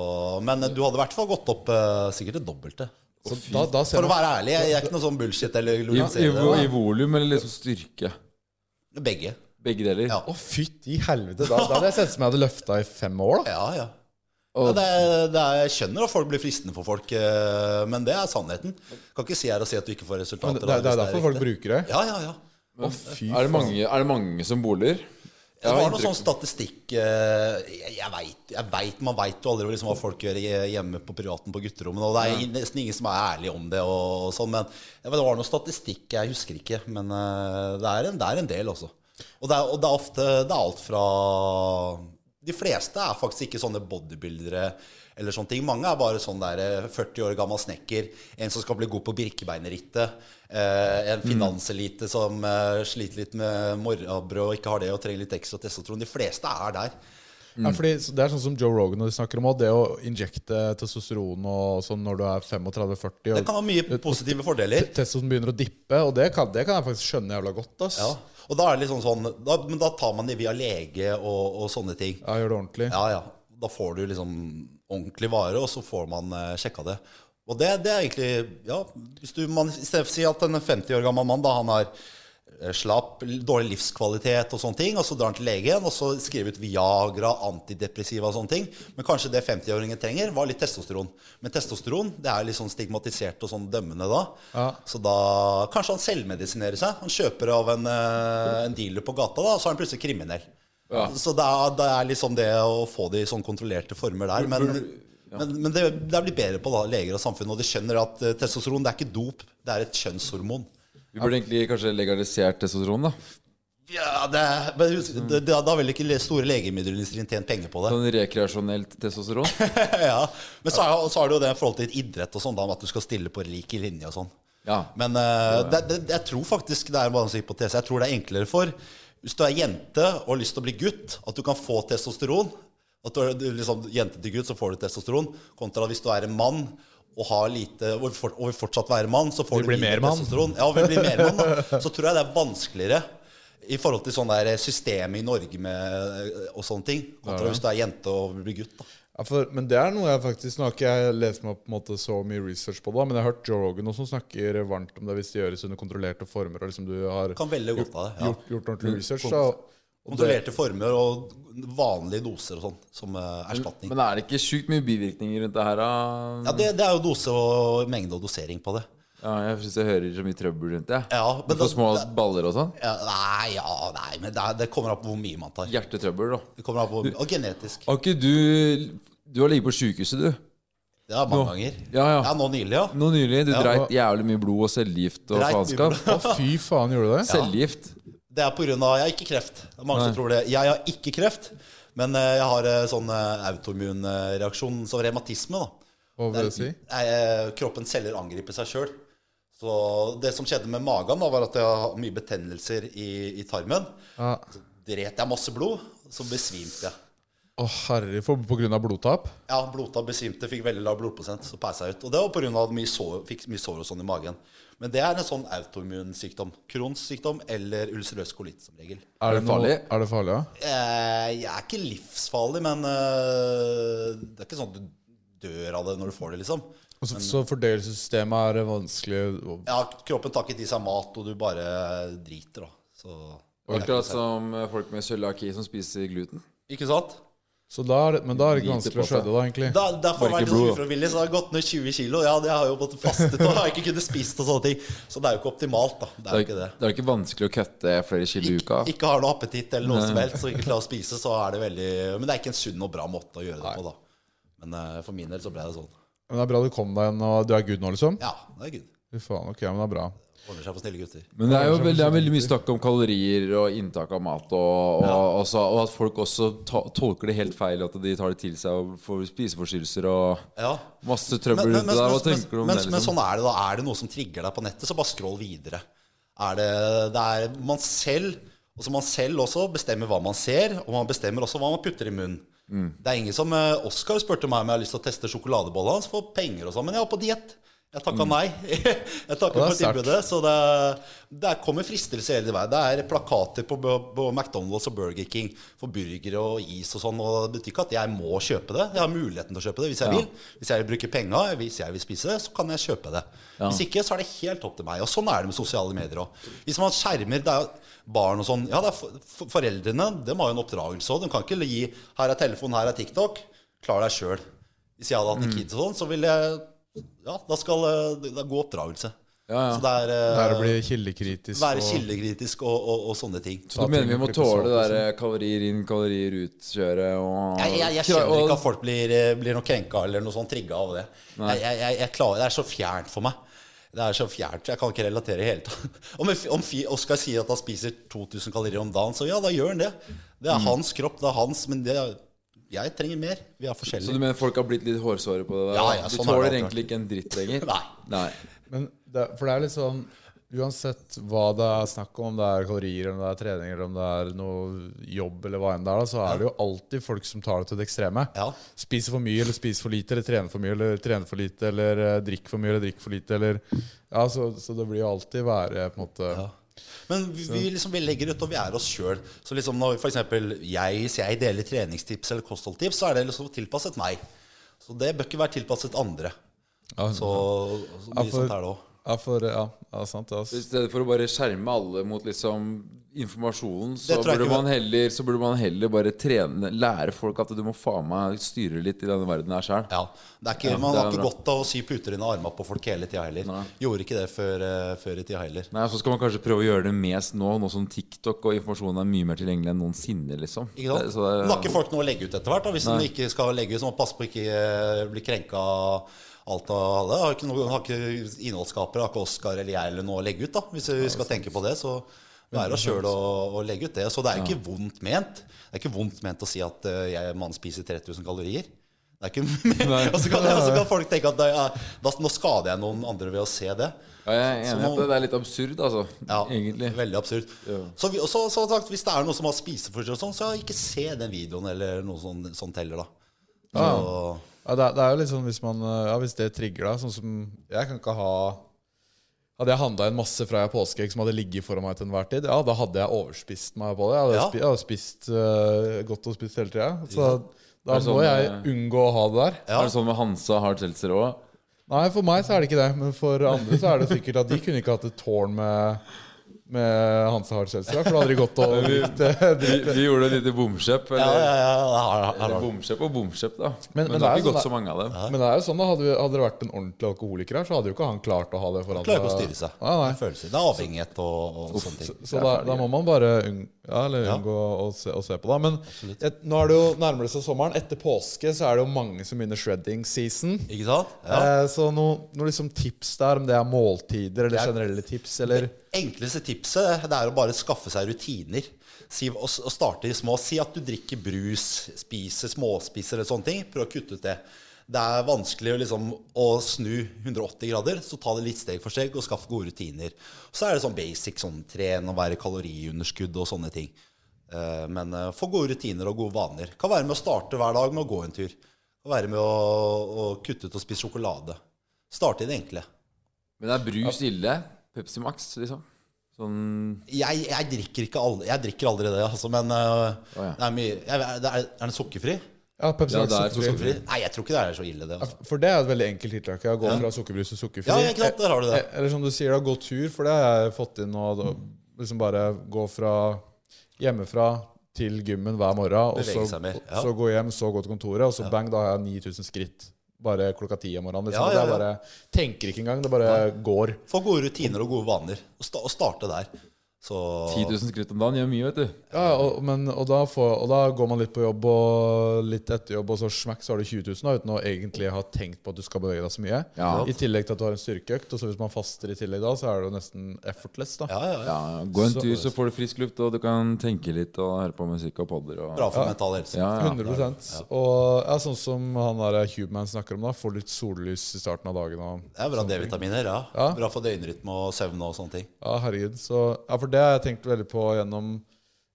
Speaker 4: men du hadde i hvert fall gått opp eh, sikkert det dobbelte.
Speaker 3: Så da, da ser
Speaker 4: For å
Speaker 3: man,
Speaker 4: være ærlig, jeg, jeg er ikke noe sånn bullshit eller
Speaker 5: I, i,
Speaker 4: glorifisere
Speaker 5: vo-
Speaker 4: det.
Speaker 5: I volum eller liksom styrke?
Speaker 4: da. Begge.
Speaker 5: Begge deler.
Speaker 4: Ja.
Speaker 3: å, fytti helvete! Da, da hadde jeg sett ut som jeg hadde løfta i fem år. da
Speaker 4: Ja, ja.
Speaker 5: Og-
Speaker 4: ja det er, det er, jeg skjønner at folk blir fristende for folk, eh, men det er sannheten. Kan ikke si her og si at du ikke får
Speaker 3: Men
Speaker 4: resultater.
Speaker 3: det, det,
Speaker 4: da,
Speaker 3: er
Speaker 4: hvis
Speaker 3: derfor folk
Speaker 4: riktig.
Speaker 3: bruker det.
Speaker 4: Ja, ja, ja.
Speaker 3: Å, fy
Speaker 5: Er, det mange, er det mange som boler? Jeg
Speaker 4: Det
Speaker 5: har
Speaker 4: var noe
Speaker 5: inntrykk-
Speaker 4: sånn statistikk eh, Jeg, jeg veit jeg vet, Man veit jo aldri liksom, hva folk gjør i- hjemme på privaten på gutterommet. Og det er nesten ingen som er ærlig om det. Og, og sånn, men jeg vet, Det var noe statistikk, jeg husker ikke. Men eh, det, er en, det er en del, også. Og det er, og det er ofte Det er alt fra De fleste er faktisk ikke sånne bodybuildere. Eller sånne ting. Mange er bare sånn der eh, 40 år gammel snekker, en som skal bli god på birkebeinerrittet, eh, en finanselite som eh, sliter litt med morrabrød og ikke har det og trenger litt ekstra testosteron. De fleste er der.
Speaker 3: Ja, fordi så det er sånn som Joe Rogan og de snakker om også, det å injekte testosteron og sånn når du er 35-40
Speaker 4: Det
Speaker 3: og
Speaker 4: kan ha mye positive fordeler.
Speaker 3: testosteron begynner å dippe, og det kan, det kan jeg faktisk skjønne jævla godt. ass.
Speaker 4: Ja. Og da er det liksom sånn da, Men da tar man det via lege og, og sånne ting.
Speaker 3: Ja, gjør det ordentlig.
Speaker 4: Ja, ja. Da får du liksom ordentlig vare, og så får man eh, sjekka det. Og det, det er egentlig Ja, hvis du man, i stedet for å si at en 50 år gammel mann da, han har eh, slapp, l- dårlig livskvalitet og sånne ting, og så drar han til legen, og så skriver ut Viagra, antidepressiva og sånne ting. Men kanskje det 50-åringen trenger, var litt testosteron. Men testosteron det er litt sånn stigmatisert og sånn dømmende da. Så da kanskje han selvmedisinerer seg. Han kjøper av en, eh, en dealer på gata, da, og så er han plutselig kriminell. Så det er, det er liksom det å få det i sånn kontrollerte former der. Men, men, men det, det blir bedre på da, leger og samfunn, og de skjønner at eh, testosteron det er ikke dop, det er et kjønnshormon.
Speaker 5: Vi burde egentlig kanskje legalisert testosteron, da.
Speaker 4: Ja, det, men husk, det, det, da vil ikke le- store legemiddelindustrien tjent penger på det.
Speaker 5: Sånn rekreasjonelt testosteron.
Speaker 4: *laughs*
Speaker 3: *laughs*
Speaker 4: ja. Men så er, så er det jo det i forhold til idrett og sånn, da, med at du skal stille på lik linje og sånn.
Speaker 5: Ja.
Speaker 4: Men eh, det, det, jeg tror faktisk det er bare en hypotese. Jeg tror det er enklere for hvis du er jente og har lyst til å bli gutt, at du kan få testosteron. At du er du er liksom, jente til gutt, så får du testosteron. Kontra hvis du er en mann og har lite Og vil fort- og vil fortsatt være mann, så får
Speaker 3: Vil
Speaker 4: du
Speaker 3: bli
Speaker 4: lite
Speaker 3: mer mann.
Speaker 4: testosteron. Ja, og vil bli mer mann,
Speaker 3: *laughs*
Speaker 4: da. Så tror jeg det er vanskeligere. I forhold til sånn der systemet i Norge med, og sånne ting. Kontra hvis du er jente og blir gutt. Da.
Speaker 3: Ja, for, men det er noe jeg faktisk Nå har ikke jeg lest meg opp på en måte så mye research på det, da, men jeg har hørt Joe Rogan også snakker varmt om det hvis det gjøres under kontrollerte former. og liksom du har
Speaker 4: Kan veldig godt av det. Ja.
Speaker 3: gjort, gjort ordentlig research. Da, og det,
Speaker 4: Kontrollerte former og vanlige doser og sånn som eh, erstatning.
Speaker 5: Men er det ikke sjukt mye bivirkninger rundt det her? Da?
Speaker 4: Ja, det, det er jo dose og mengde og dosering på det.
Speaker 5: Ja, jeg syns jeg hører så mye trøbbel rundt det.
Speaker 4: Ja, men
Speaker 5: Du får
Speaker 4: da-
Speaker 5: små baller og sånn.
Speaker 4: Ja, nei, ja, nei, men det, er- det kommer an på hvor mye man tar.
Speaker 5: Hjertetrøbbel, da.
Speaker 4: Det kommer an på, hvor mye- og genetisk.
Speaker 5: Har ikke du Du har ligget på sjukehuset, du.
Speaker 4: Det er mange ganger.
Speaker 5: Ja, ja.
Speaker 4: nå nylig, ja.
Speaker 5: Nå nylig. Du
Speaker 4: Ja.
Speaker 5: dreit jævlig mye blod og cellegift og
Speaker 4: Dreit mye
Speaker 5: faenskap.
Speaker 4: blod. *laughs*
Speaker 3: å, fy faen, gjorde du det?
Speaker 5: Cellegift.
Speaker 4: Det er på grunn av Jeg har ikke kreft. Det er mange som tror det. Jeg har ikke kreft, men eh, jeg har eh, sånn eh, autoimmun eh, reaksjon, som revmatisme, da.
Speaker 3: Hva vil det si?
Speaker 4: Det er- eh, Kroppens celler angriper seg sjøl. Så det som skjedde med magen, da, var at jeg har mye betennelser i, i tarmen.
Speaker 3: Ja.
Speaker 4: dret jeg masse blod, så besvimte jeg.
Speaker 3: Å herre, for, på grunn av blodtap?
Speaker 4: Ja, blodtap besvimte, fikk veldig lav blodprosent, så peisa jeg ut. Og det var pga. at mye sår, fikk mye sår og sånn i magen. Men det er en sånn autoimmun sykdom. Crohns sykdom eller ulcerøs kolitt som regel.
Speaker 3: Er det,
Speaker 5: det
Speaker 3: farlig?
Speaker 5: farlig?
Speaker 3: Noe, er det farlig, ja?
Speaker 4: Eh, jeg er ikke livsfarlig, men eh, det er ikke sånn at du dør av det når du får det, liksom.
Speaker 3: Altså, så fordøyelsessystemet er vanskelig
Speaker 4: Ja, kroppen tar ikke til seg mat, og du bare driter, da. Så
Speaker 5: Akkurat som eh, folk med cøliaki som spiser gluten.
Speaker 4: Ikke sant?
Speaker 3: så da er, det- Men da er det ikke
Speaker 5: Lite
Speaker 3: vanskelig å
Speaker 5: på seg.
Speaker 3: skjønne, da, egentlig.
Speaker 4: Da, derfor har
Speaker 5: Bare
Speaker 4: jeg
Speaker 5: ikke
Speaker 4: vært litt sånn
Speaker 5: blod, da.
Speaker 4: ufrivillig, så jeg har gått ned 20 kilo. Ja, det har jeg jo måttet fastet og har ikke kunnet spist og sånne ting. Så det er jo ikke optimalt, da. Det er jo ikke det.
Speaker 5: er jo ikke vanskelig å kutte flere kilo i uka.
Speaker 4: Ikke, ikke har noe appetitt eller noe som helst, og ikke klarer å spise, så er det veldig Men det er ikke en sunn og bra måte å gjøre det på, da. Men eh, for min del så ble det sånn.
Speaker 3: Men det er bra du kom deg inn, og du er good nå, liksom?
Speaker 4: Ja, det er good.
Speaker 3: Fy faen, ok, men det er bra.
Speaker 4: Ordner seg for snille gutter.
Speaker 5: Men det er jo veldig, det er veldig mye
Speaker 4: sånn-
Speaker 5: snakk om kalorier og inntak av mat, og, og, og, så, og at folk også ta, tolker det helt feil, at de tar det til seg og får spiseforstyrrelser og
Speaker 4: Ja.
Speaker 5: masse
Speaker 4: Men,
Speaker 5: trøbbel
Speaker 4: men,
Speaker 5: rundt det
Speaker 4: men,
Speaker 5: der.
Speaker 4: men,
Speaker 5: Hva
Speaker 4: men,
Speaker 5: tenker du om
Speaker 4: men,
Speaker 5: det?
Speaker 4: men
Speaker 5: liksom?
Speaker 4: sånn er det, da. Er det noe som trigger deg på nettet, så bare scroll videre. Er det, det er man selv også man selv også bestemmer hva man ser, og man bestemmer også hva man putter i munnen.
Speaker 5: Mm.
Speaker 4: Det er ingen som eh, Oskar spurte meg om jeg har lyst til å teste sjokoladebollen hans for penger og sånn, men jeg var på diett. Jeg
Speaker 5: Mm.
Speaker 4: takka nei. *laughs* jeg takka
Speaker 3: Og
Speaker 4: for
Speaker 3: det er
Speaker 4: tilbudet. Så det, det kommer fristelser hele veien. Det er plakater på, på McDonald's og Burger King for burgere og is og sånn. Og det betyr ikke at jeg må kjøpe det. Jeg har muligheten til å kjøpe det hvis jeg vil. Hvis jeg vil bruke penga, hvis jeg vil spise det, så kan jeg kjøpe det. Hvis ikke, så er det helt opp til meg. Og sånn er det med sosiale medier òg. Hvis man skjermer det er jo barn og sånn Ja, det er for, for, foreldrene dem har jo en oppdragelse òg. De kan ikke gi 'her er telefon, her er TikTok'. Klar deg sjøl. Hvis jeg hadde hatt
Speaker 5: Mm.
Speaker 4: en kid og sånn, så ville jeg Ja, da skal eh, det er god oppdragelse.
Speaker 5: Ja, ja.
Speaker 4: Så det er, eh,
Speaker 3: Det er å bli kildekritisk
Speaker 4: være
Speaker 3: og-
Speaker 4: kildekritisk og, og, og sånne ting.
Speaker 5: Så du mener vi må tåle det der eh, kalorier inn, kalorier ut-kjøret og
Speaker 4: Jeg, jeg, jeg skjønner ikke at folk blir, eh, blir noe krenka eller noe sånn trigga av det. Jeg, jeg, jeg, jeg klarer, det er så fjernt for meg. Det er så fjernt, Jeg kan ikke relatere i hele tatt. *laughs* Om, en fi- om fi- Oskar sier at han spiser 2000 kalorier om dagen, så ja, da gjør han det.
Speaker 5: Mm.
Speaker 4: Det er hans kropp, det er hans, men det, er- jeg trenger mer. Vi er
Speaker 5: Så du
Speaker 4: forskjellige.
Speaker 5: mener folk har blitt litt hårsåre på det? der?
Speaker 4: Ja, ja,
Speaker 5: de
Speaker 4: sånn er
Speaker 5: tåler
Speaker 4: det
Speaker 5: egentlig ikke en dritt lenger?
Speaker 4: Nei.
Speaker 5: Nei.
Speaker 3: Men det, for det er litt sånn Uansett hva det er snakk om, om det er kalorier, om det er trening, eller om det er noe jobb, eller hva enn det er, da, så er det jo alltid folk som tar det til det ekstreme.
Speaker 4: Ja.
Speaker 3: Spiser for mye, eller spiser for lite, eller trener for mye, eller trener for lite, eller eh, drikker for mye, eller drikker for lite, eller Ja, så, så det blir jo alltid være på en måte
Speaker 4: Men vi, vi, liksom, vi legger ut, og vi er oss sjøl. Så liksom når for eksempel jeg, hvis jeg deler treningstips eller kostholdtips, så er det liksom tilpasset meg. Så det bør ikke være tilpasset andre.
Speaker 3: Ja,
Speaker 4: Så, så mye
Speaker 3: Ja, for-
Speaker 4: sånt er det òg.
Speaker 3: Ja, for Ja, ja sant, det,
Speaker 5: I
Speaker 3: altså.
Speaker 5: stedet for å bare skjerme alle mot liksom informasjonen, så
Speaker 4: Det tror jeg
Speaker 5: burde,
Speaker 4: ikke
Speaker 5: man heller, så burde man heller bare trene, lære folk at du må faen meg styre litt i denne verden her sjøl.
Speaker 4: Ja, det er ikke,
Speaker 5: Ja,
Speaker 4: Man
Speaker 5: det
Speaker 4: har
Speaker 5: er
Speaker 4: ikke
Speaker 5: bra.
Speaker 4: godt av å sy puter inn i armene på folk hele tida heller. Gjorde ikke det før, eh, før i tida heller.
Speaker 5: Nei, Så skal man kanskje prøve å gjøre det mest nå, nå som TikTok og informasjonen er mye mer tilgjengelig enn noensinne. liksom
Speaker 4: Ikke sant?
Speaker 5: Det- så det-
Speaker 4: Men har ikke folk noe å legge ut etter hvert? da Hvis de ikke skal legge ut, så må man passe på å ikke eh, bli krenka av alt av alle. Har ikke, noe, har ikke innholdsskapere, har ikke Oskar eller jeg eller noe å legge ut, da hvis vi skal tenke på det. Så være oss sjøl og, og legge ut det. Så det er ikke vondt ment. Det er ikke vondt ment å si at eh, jeg mann spiser 3000 kalorier. Det er ikke, *laughs* og så kan, og så kan folk tenke at det er, da, nå skader jeg noen andre ved å se det.
Speaker 5: ja, jeg er enig
Speaker 4: Så
Speaker 5: i
Speaker 4: nå-
Speaker 5: at det- det er litt absurd, altså.
Speaker 4: ja,
Speaker 5: egentlig.
Speaker 4: Veldig absurd. Så, vi, og så, så sagt, hvis det er noe som har spiseforstyrrelser, og sånn, så ikke se den videoen eller noe sånn, sånt heller, da. Så,
Speaker 3: Ja, det, er, det er jo litt sånn hvis man eh, Ja, hvis det trigger deg, sånn som Jeg kan ikke ha Hadde jeg handla inn masse fra jeg har påskeegg som hadde ligget foran meg til enhver tid, ja, da hadde jeg overspist meg på det. Jeg hadde,
Speaker 4: Ja.
Speaker 3: spi, jeg hadde spist eh, godt og spist hele tida. Så da
Speaker 5: Er det
Speaker 3: må
Speaker 5: sånn,
Speaker 3: jeg
Speaker 5: eh,
Speaker 3: unngå å ha det der.
Speaker 4: Ja.
Speaker 5: Er det sånn med Hansa Hard Seltzer òg?
Speaker 3: Nei, for meg så er det ikke det. Men for andre så er det sikkert at de kunne ikke hatt et tårn med med Hanse Hard Seltzer, for da hadde de gått
Speaker 5: *laughs*
Speaker 3: og eh, drikt
Speaker 5: Vi, vi gjorde et lite bomkjøp.
Speaker 4: ja,
Speaker 3: Ah.
Speaker 5: Eller,
Speaker 4: ja, ja, her, her, her.
Speaker 5: eller bomkjøp og bomkjøp, da.
Speaker 3: Men-
Speaker 5: Men,
Speaker 3: men
Speaker 5: det har
Speaker 3: det er
Speaker 5: ikke
Speaker 3: sånn
Speaker 5: gått
Speaker 3: der-
Speaker 5: så mange av dem.
Speaker 3: Men det er jo sånn da, hadde, vi- hadde det vært en ordentlig alkoholiker her, så hadde jo ikke han klart å ha det foran
Speaker 4: Klarer ikke å styre seg.
Speaker 3: Nei, Ah, nei.
Speaker 4: Det er følelser. Det er avhengighet og, og sånne ting.
Speaker 3: Så da, da må man bare unng ja, eller unngå å, se, å se på det. Men et, nå er det jo nærmer det seg sommeren. Etter påske så er det jo mange som begynner shredding season.
Speaker 4: Ikke sant? Ja.
Speaker 3: Eh, så noen noe liksom tips der, om det er måltider eller generelle tips, eller
Speaker 4: Enkleste tipset det er å bare skaffe seg rutiner. Si, og, s- og starte i små. Si at du drikker brus, spiser småspiser eller sånne ting. Prøv å kutte ut det. Det er vanskelig å, liksom, å snu 180 grader, så ta det litt steg for steg og skaff gode rutiner. Så er det sånn basic sånn tren og være i kaloriunderskudd og sånne ting. Eh, Eh, Men eh, få gode rutiner og gode vaner. Kan være med å starte hver dag med å gå en tur. Kan være med å, å kutte ut og spise sjokolade. Starte i det enkle.
Speaker 5: Men er brus ille? Pepsi Max, liksom? Sånn
Speaker 4: Jeg, jeg drikker ikke aldri, jeg drikker aldri det, altså, men eh,
Speaker 5: Å, ja.
Speaker 4: det er, mye, jeg, det er, er den sukkerfri?
Speaker 3: Ja, Pepsi
Speaker 5: Ja,
Speaker 3: Max
Speaker 5: det er
Speaker 3: sukkerfri.
Speaker 5: sukkerfri.
Speaker 4: Nei, jeg tror ikke det er så ille, det. Altså.
Speaker 3: For det er et veldig enkelt tiltak. ja, Å gå fra sukkerbrus til sukkerfri.
Speaker 4: Ja, ikke sant, der har du det.
Speaker 3: Eh, Eller som du sier, da, gå tur, for det har jeg fått inn nå. Da, liksom bare gå fra hjemmefra til gymmen hver morgen, og
Speaker 4: Bevege
Speaker 3: så,
Speaker 4: seg mer, ja.
Speaker 3: så gå hjem, så gå til kontoret, og så bang, da har jeg 9000 skritt. Bare klokka ti om morgenen.
Speaker 4: Ja,
Speaker 3: Liksom.
Speaker 4: ja,
Speaker 3: Det er
Speaker 4: ja.
Speaker 3: bare, tenker ikke engang, det bare går.
Speaker 4: Få gode rutiner og gode vaner, og, sta, og starte der. Så
Speaker 5: 10 000 skritt om dagen gjør mye, vet du.
Speaker 3: Ja, og, men, og, da får, og da går man litt på jobb og litt etter jobb, og så smekk, så har du 20 000 da, uten å egentlig ha tenkt på at du skal bevege deg så mye.
Speaker 5: Ja.
Speaker 3: I tillegg til at du har en styrkeøkt, og så hvis man faster i tillegg da, så er det jo nesten effortless. da.
Speaker 4: ja, ja, ja.
Speaker 5: Ja, Gå en
Speaker 3: Så-
Speaker 5: tur, så får du frisk luft, og du kan tenke litt og høre på musikk og podder. Og...
Speaker 4: Bra for mental helse.
Speaker 5: Ja, ja.
Speaker 3: 100 Og ja, sånn som han der Hubeman snakker om, da, får litt sollys i starten av dagen. og
Speaker 4: Det er bra D-vitaminer, ja.
Speaker 3: Ja.
Speaker 4: Bra for døgnrytme og søvn og sånne ting.
Speaker 3: Ja, herregud. Så, ja, for det har jeg tenkt veldig på gjennom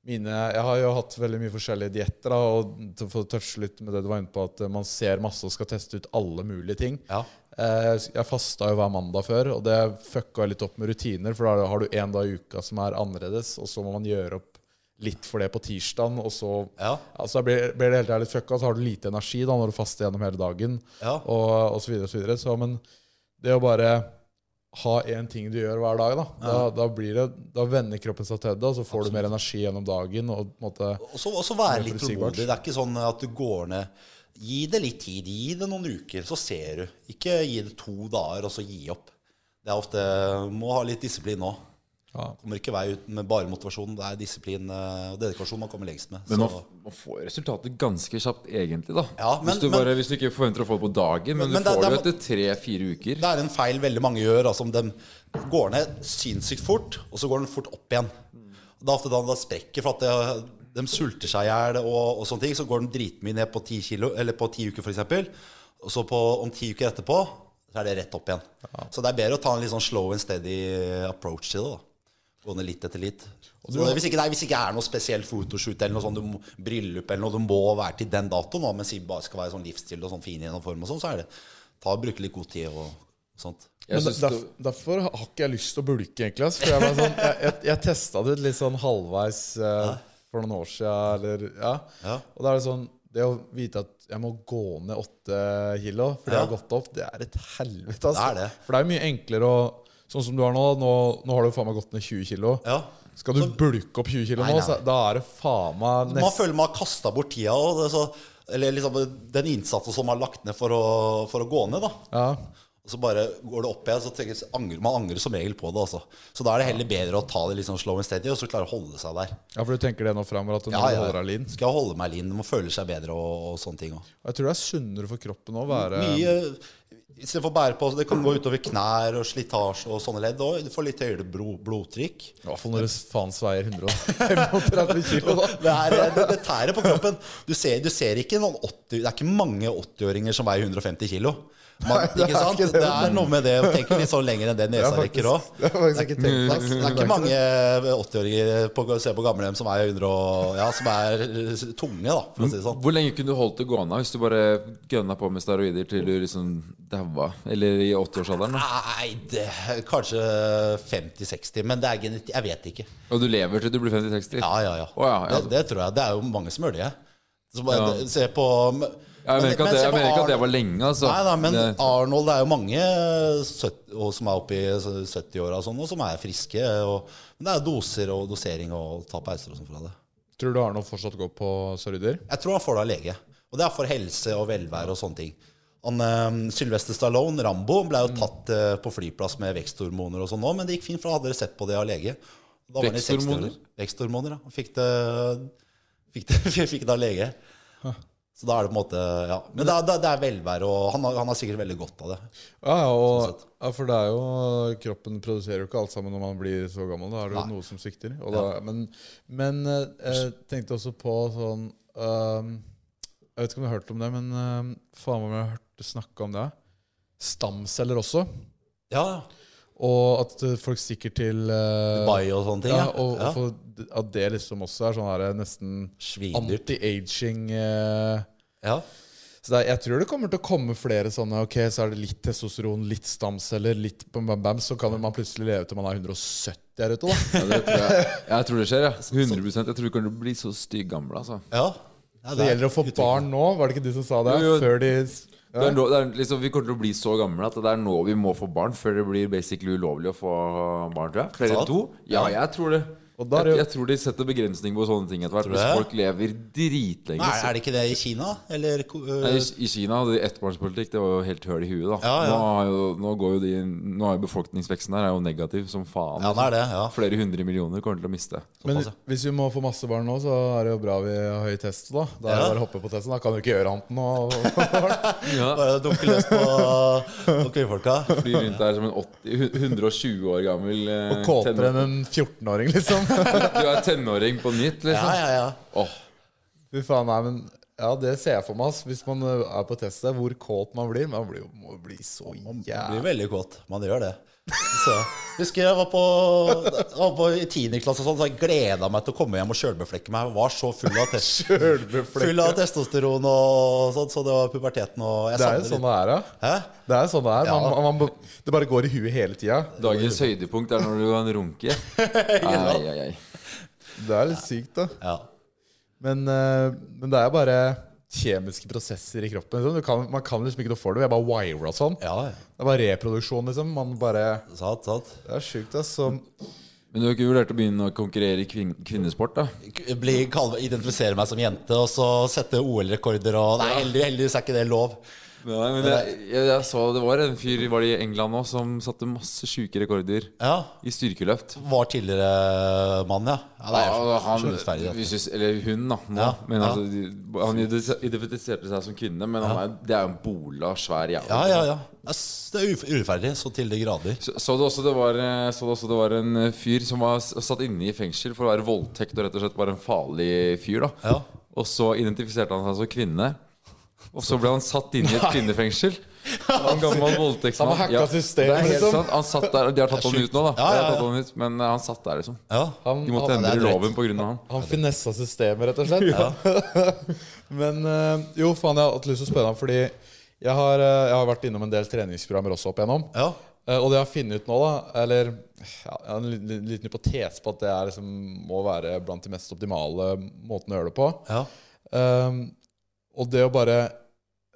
Speaker 3: mine Jeg har jo hatt veldig mye forskjellige dietter, da, og til å få touche litt med det du var inne på, at eh, man ser masse og skal teste ut alle mulige ting.
Speaker 4: Ja.
Speaker 3: Eh, Jeg fasta jo hver mandag før, og det fucka jeg litt opp med rutiner, for da har du én dag i uka som er annerledes, og så må man gjøre opp litt for det på tirsdagen, og så
Speaker 4: Ja.
Speaker 3: Altså, da blir, blir det hele tiden litt fucka, så altså, har du lite energi da når du faster gjennom hele dagen.
Speaker 4: Ja.
Speaker 3: Og, og så videre og så videre. Så, men det å bare ha én ting du gjør hver dag, da, da, da, blir det, da vender kroppen seg til det, og så får du mer energi gjennom dagen. Og på en måte
Speaker 4: Og så og så være litt
Speaker 3: forutsigbart.
Speaker 4: tålmodig. Det er ikke sånn at du går ned Gi det litt tid. Gi det noen uker, så ser du. Ikke gi det to dager, og så gi opp. Det er ofte Må ha litt disiplin nå.
Speaker 3: Ja.
Speaker 4: Kommer ikke vei ut med bare motivasjon. Det er disiplin eh, og dedikasjon man kommer lengst med.
Speaker 5: Men man,
Speaker 4: Så-
Speaker 5: f- man får resultatet ganske kjapt, egentlig. da
Speaker 4: Ja, men-
Speaker 5: hvis, du
Speaker 4: men-
Speaker 5: bare, hvis du ikke forventer å få det på dagen, men,
Speaker 4: Men- men
Speaker 5: du
Speaker 4: det-
Speaker 5: får det jo
Speaker 4: det-
Speaker 5: etter tre-fire uker.
Speaker 4: Det er en feil veldig mange gjør. Altså om de går ned sinnssykt fort, og så går den fort opp igjen. Da ofte da, da sprekker for at det, de sulter seg i hjel og, og sånne ting. Så går de dritmye ned på ti, kilo, eller på ti uker, f.eks. Og så på, om ti uker etterpå så er det rett opp igjen. Så det er bedre å ta en litt sånn slow and steady approach til det. da Gå ned litt etter litt. Så det, hvis, ikke, det er- hvis ikke det er noe spesiell photoshoot eller noe sånn, du må, bryllup eller noe, du må være til den datoen, da, men si bare skal være sånn livsstil og sånn fin gjennom form og sånn, så er det ta og bruke litt god tid og sånt.
Speaker 5: Jeg
Speaker 3: Men
Speaker 5: synes
Speaker 3: derf, derfor har ikke jeg lyst til å bulke, egentlig. ass, For jeg, var sånn, jeg, jeg, jeg testa det ut litt sånn halvveis eh, for noen år siden. Eller, ja.
Speaker 4: Ja.
Speaker 3: Og da er det sånn Det å vite at jeg må gå ned åtte kilo fordi jeg har
Speaker 4: Ja.
Speaker 3: gått opp, det er et helvete. ass.
Speaker 4: Det er det.
Speaker 3: For det er mye enklere å Sånn som du har nå, nå, nå har du faen meg gått ned 20 kilo.
Speaker 4: Ja.
Speaker 3: Skal du bulke opp 20 kilo
Speaker 4: Nei,
Speaker 3: nå,
Speaker 4: nei.
Speaker 3: så da er det faen
Speaker 4: Man
Speaker 3: meg nesten
Speaker 4: føler man har kasta bort tida og det, er så, Eller liksom den innsatsen som man har lagt ned for å, for å gå ned, da.
Speaker 3: ja.
Speaker 4: Og så bare går det opp igjen, så tenker, jeg- angrer, man angrer som regel på det. altså Så da er det heller bedre å ta det litt sånn slow and steady, og så klare å holde seg der.
Speaker 3: ja, for du tenker det nå fremover, at du
Speaker 4: Ja, ja.
Speaker 3: holder deg lean.
Speaker 4: Skal jeg holde meg lean? Man føler seg bedre og, og sånne ting òg.
Speaker 3: Og jeg tror det er sunnere for kroppen å være
Speaker 4: Mye eh, Istedenfor å bære på Det kan gå utover knær og slitasje og sånne ledd òg. Du får litt høyere bro,
Speaker 3: *laughs*
Speaker 4: blodtrykk.
Speaker 3: I hvert fall når det faen sveier 135 kilo, da.
Speaker 4: Det, er, eh, det, det tærer på kroppen. Du ser, du ser ikke noen 80, Det er ikke mange 80-åringer som veier 150 kilo. Man, ikke sant?
Speaker 3: ikke det.
Speaker 4: det. er noe med det å tenke litt sånn lenger enn det nesa rekker òg.
Speaker 3: Det har jeg faktisk ikke tenkt på. ass.
Speaker 4: Det er ikke mange 80-åringer på, se på gamlehjem som er 100 og, ja, som er eh, tunge, da, for å si det sånn.
Speaker 5: Hvor lenge kunne du holdt det gående hvis du bare gønna på med steroider til du liksom daua? Eller i 80-årsalderen? da?
Speaker 4: Nei, det, er kanskje 50-60, men det er genetikk Jeg vet ikke.
Speaker 5: Og du lever til du blir 50-60?
Speaker 4: Ja, ja, ja.
Speaker 5: Å, ja, ja.
Speaker 4: Det, det tror jeg. Det er jo mange som gjør det. Så bare,
Speaker 5: Ja.
Speaker 4: Se på men-
Speaker 5: Jeg mener ikke at det,
Speaker 4: se
Speaker 5: jeg
Speaker 4: på
Speaker 5: mener ikke at det
Speaker 4: Arnold.
Speaker 5: var lenge, altså.
Speaker 4: Nei, nei, men
Speaker 5: det,
Speaker 4: Arnold det er jo mange 70, og som er oppe i 70-åra og sånn, og som er friske. Og, men det er doser og dosering og ta pauser og sånn fra det.
Speaker 3: Tror du Arnold fortsatt går på steroider?
Speaker 4: Jeg tror han får det av lege. Og det er for helse og velvære og sånne ting. Han, eh, Sylvester Stallone, Rambo, ble
Speaker 3: Mm.
Speaker 4: jo tatt eh, på flyplass med veksthormoner og sånn nå, men det gikk fint, for han hadde sett på det av lege. Da var han i 60-årene. Veksthormoner, ja. Han Fikk det, fikk det, *laughs* fikk det av lege. Så da er det på en måte Ja. Men det er, det er- det er velvære, og han har, han har sikkert veldig godt av det.
Speaker 3: Ja, ja, og, ja, for det er jo Kroppen produserer jo ikke alt sammen når man blir så gammel. Da er det jo noe som svikter. Og da, men men eh, jeg tenkte også på sånn ehm, Jeg vet ikke om du har hørt om det, men ehm, faen meg om jeg har hørt snakke om det. Stamceller også.
Speaker 4: Ja, ja.
Speaker 3: Og at eh, folk stikker til eh,
Speaker 4: Dubai og sånne ting.
Speaker 3: Ja,
Speaker 4: ja.
Speaker 3: og, og
Speaker 4: Ja.
Speaker 3: for, at det liksom også er sånn her nesten
Speaker 4: Svindyrt.
Speaker 3: anti-aging eh,
Speaker 4: Ja.
Speaker 3: Så det er, jeg tror det kommer til å komme flere sånne. Ok, så er det litt testosteron, litt stamceller, litt bam, bam, bam. Så kan man plutselig leve til man er 170 her ute, da.
Speaker 5: Ja, det tror
Speaker 4: *laughs*
Speaker 5: jeg. jeg tror det skjer, ja. 100 Jeg tror ikke du blir så stygg gammel, altså.
Speaker 4: ja. Ja,
Speaker 3: Det gjelder å få barn nå, var det ikke du som sa det?
Speaker 5: Jo, jo.
Speaker 3: Før de
Speaker 5: Det er nå, det er liksom, vi kommer til å bli så gamle at det er nå vi må få barn, før det blir basically ulovlig å få barn, tror jeg. Flere enn
Speaker 4: Sant?
Speaker 5: to? Ja, jeg tror det.
Speaker 3: Og da er det
Speaker 5: jeg,
Speaker 3: jo-
Speaker 5: jeg tror de setter begrensning på sånne ting etter hvert.
Speaker 4: Tror du
Speaker 5: Hvis
Speaker 4: det?
Speaker 5: folk lever dritlenge
Speaker 4: Nei,
Speaker 5: så-
Speaker 3: liksom.
Speaker 4: er det ikke det i Kina? Eller ko- øh,
Speaker 5: Nei, I i Kina hadde de ettbarnspolitikk. Det var jo helt høl i huet. da
Speaker 4: Ja, ja.
Speaker 5: Nå, har jo, nå, går jo de, nå er jo befolkningsveksten der er jo negativ som faen.
Speaker 4: Ja, det er det. Ja.
Speaker 5: Flere hundre millioner kommer til å miste.
Speaker 3: Men
Speaker 4: Såpass, ja.
Speaker 3: hvis vi må få masse barn nå, så er det jo bra vi har høy test, da. Da er det
Speaker 4: Ja.
Speaker 3: bare å hoppe på testen. Da kan du ikke gjøre annet enn
Speaker 5: *laughs*
Speaker 3: å *laughs*
Speaker 4: Bare dunke løs på på kvinnfolka.
Speaker 5: Flyr rundt der som en 80, 120 år gammel eh,
Speaker 3: kåtere enn
Speaker 5: tenåring.
Speaker 3: en 14-åring, liksom.
Speaker 5: Du
Speaker 3: *laughs*
Speaker 5: er tenåring på nytt,
Speaker 4: Ja,
Speaker 5: liksom.
Speaker 4: ja, ja.
Speaker 5: Åh,
Speaker 3: Fy faen, nei, men Ja, det ser jeg for meg, ass. Hvis man ø, er på testet, hvor kåt man blir. Man blir jo, må jo bli så
Speaker 4: Man
Speaker 3: jævlig
Speaker 4: blir veldig kåt. Man gjør det. Så, husker jeg var på, jeg var på i 10. klasse og sånn, så jeg gleda meg til å komme hjem og sjølbeflekke meg. Jeg var så full av, test, full av testosteron og sånn, så det var puberteten og jeg
Speaker 3: Det er jo
Speaker 4: savner
Speaker 3: sånn
Speaker 4: litt.
Speaker 3: det er, ja.
Speaker 4: Hæ?
Speaker 3: Det er sånn det er. Man,
Speaker 4: Ja.
Speaker 3: man, man, det bare går i huet hele tida.
Speaker 5: dagens høydepunkt er når du kan
Speaker 4: *laughs*
Speaker 5: runke. Ai, ai, ai.
Speaker 3: Det er litt sykt, da.
Speaker 4: Ja.
Speaker 3: Men, ø, men det er bare kjemiske prosesser i kroppen. Liksom. Du kan, man kan liksom ikke noe for det. Vi er bare wira og sånn.
Speaker 4: ja.
Speaker 3: Det er bare reproduksjon, liksom. Man bare
Speaker 4: Sant, sant.
Speaker 3: Det er sjukt, ass. Så,
Speaker 5: Men du har ikke vurdert å begynne å konkurrere i kvin kvinnesport, da?
Speaker 4: Bli, kall, identifisere meg som jente og så sette OL-rekorder og Nei, heldig- heldigvis er ikke det lov.
Speaker 5: Nei, men jeg, jeg, jeg så det var en fyr var det i England nå som satte masse sjuke rekorder
Speaker 4: Ja.
Speaker 5: i styrkeløft.
Speaker 4: Var tidligere mann, ja. ja det er,
Speaker 5: Ja,
Speaker 4: jo
Speaker 5: han,
Speaker 4: så rettferdig, dette.
Speaker 5: vi synes, eller hun, da. Nå.
Speaker 4: Ja,
Speaker 5: Men
Speaker 4: ja.
Speaker 5: altså, de- han ide- identifiserte seg som kvinne, men han er, det er jo en bola, svær jævel.
Speaker 4: ja, ja, ja. Jeg s- Det er uf- urettferdig så til de grader.
Speaker 5: Så, så, du også det var, eh, så du også det var en eh, fyr som var s- satt inne i fengsel for å være voldtekt og rett og slett bare en farlig fyr. da
Speaker 4: Ja.
Speaker 5: Og så identifiserte han seg som kvinne. Og så ble han satt inn i et kvinnefengsel.
Speaker 4: *laughs*
Speaker 5: Han gammel voldtektsmann.
Speaker 3: Han har hacka systemet,
Speaker 5: det er helt
Speaker 3: liksom.
Speaker 5: sant. Han satt der, og de har tatt ham ut nå, da.
Speaker 4: Ja,
Speaker 5: De har
Speaker 4: ja,
Speaker 5: tatt han ut, men eh, han satt der, liksom.
Speaker 4: Ja.
Speaker 3: han,
Speaker 5: De måtte
Speaker 3: han,
Speaker 4: det er
Speaker 5: endre
Speaker 4: drøyt.
Speaker 5: loven pga. han.
Speaker 3: han finessa systemet, rett og slett. *laughs* Men ø, jo, faen, jeg har hatt lyst til å spørre ham, fordi jeg har, ø, jeg har vært innom en del treningsprogrammer også opp igjennom.
Speaker 4: ja.
Speaker 3: Eh, Og det jeg har funnet ut nå, da Eller ja, jeg har en liten, liten hypotese på at det er liksom, må være blant de mest optimale måtene å gjøre det på.
Speaker 4: ja.
Speaker 3: Ehm, og det å bare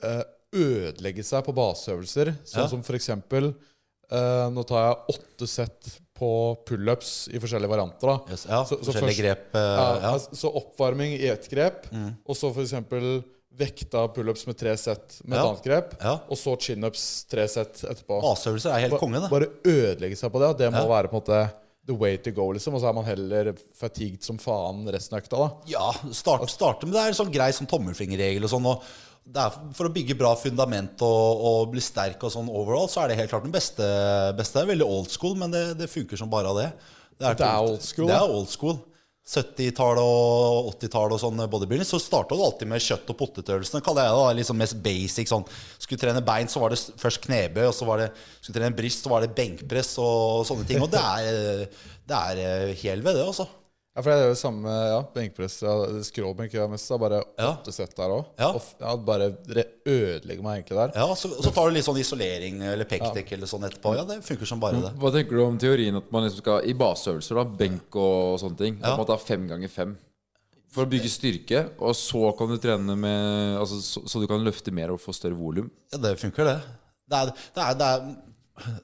Speaker 3: eh, ødelegge seg på baseøvelser, sånn
Speaker 4: Ja.
Speaker 3: som for eksempel eh, Nå tar jeg åtte sett på pullups i forskjellige varianter. da
Speaker 4: Yes, ja.
Speaker 3: Så- så
Speaker 4: Forskjellige
Speaker 3: først-
Speaker 4: grep. eh,
Speaker 3: ja,
Speaker 4: ja. Mm.
Speaker 3: altså, Så oppvarming i ett grep, og så for eksempel vekta pullups med tre sett med
Speaker 4: Ja.
Speaker 3: et annet grep,
Speaker 4: Ja.
Speaker 3: og så chinups tre sett etterpå.
Speaker 4: Baseøvelser er helt
Speaker 3: Ba-
Speaker 4: konge, det.
Speaker 3: Bare ødelegge seg på det. og Det må
Speaker 4: Ja.
Speaker 3: være på en måte the way to go, liksom. Og så er man heller fatigued som faen resten av økta, da.
Speaker 4: Ja, start, starte med det er en sånn grei sånn tommelfingerregel og sånn. Og det er for å bygge bra fundament og, og bli sterk og sånn overall, så er det helt klart den beste. beste. Det er veldig old school, men det, det funker som bare av det.
Speaker 3: Det er old school,
Speaker 4: Det
Speaker 3: da.
Speaker 4: er old school. 70-tallet og 80-tallet og sånn bodybuilding, så starta du alltid med kjøtt- og potetøvelsene, kaller jeg det. da, liksom mest basic sånn. Skulle trene bein, så var det s- først knebøy, og så var det skulle trene bryst, så var det benkpress og sånne ting. Og det er, det er eh, hel ved, det, altså.
Speaker 3: Ja, for det er jo samme ja, benkpress. Ja, skråbenk gjør jeg mest. Da, bare
Speaker 4: Ja.
Speaker 3: åtte sett der òg.
Speaker 4: Ja.
Speaker 3: Ja, bare re- ødelegge meg egentlig der.
Speaker 4: Ja, så, så tar du litt sånn isolering eller pekdekk eller sånn etterpå. Ja, det funker som bare det.
Speaker 5: Hva tenker du om teorien at man liksom skal i baseøvelser, da, benk og sånne ting, at man tar fem ganger fem? For å bygge styrke, og så kan du trene med Altså så, så du kan løfte mer og få større volum.
Speaker 4: Ja, det funker, det. Det er, det er, det er,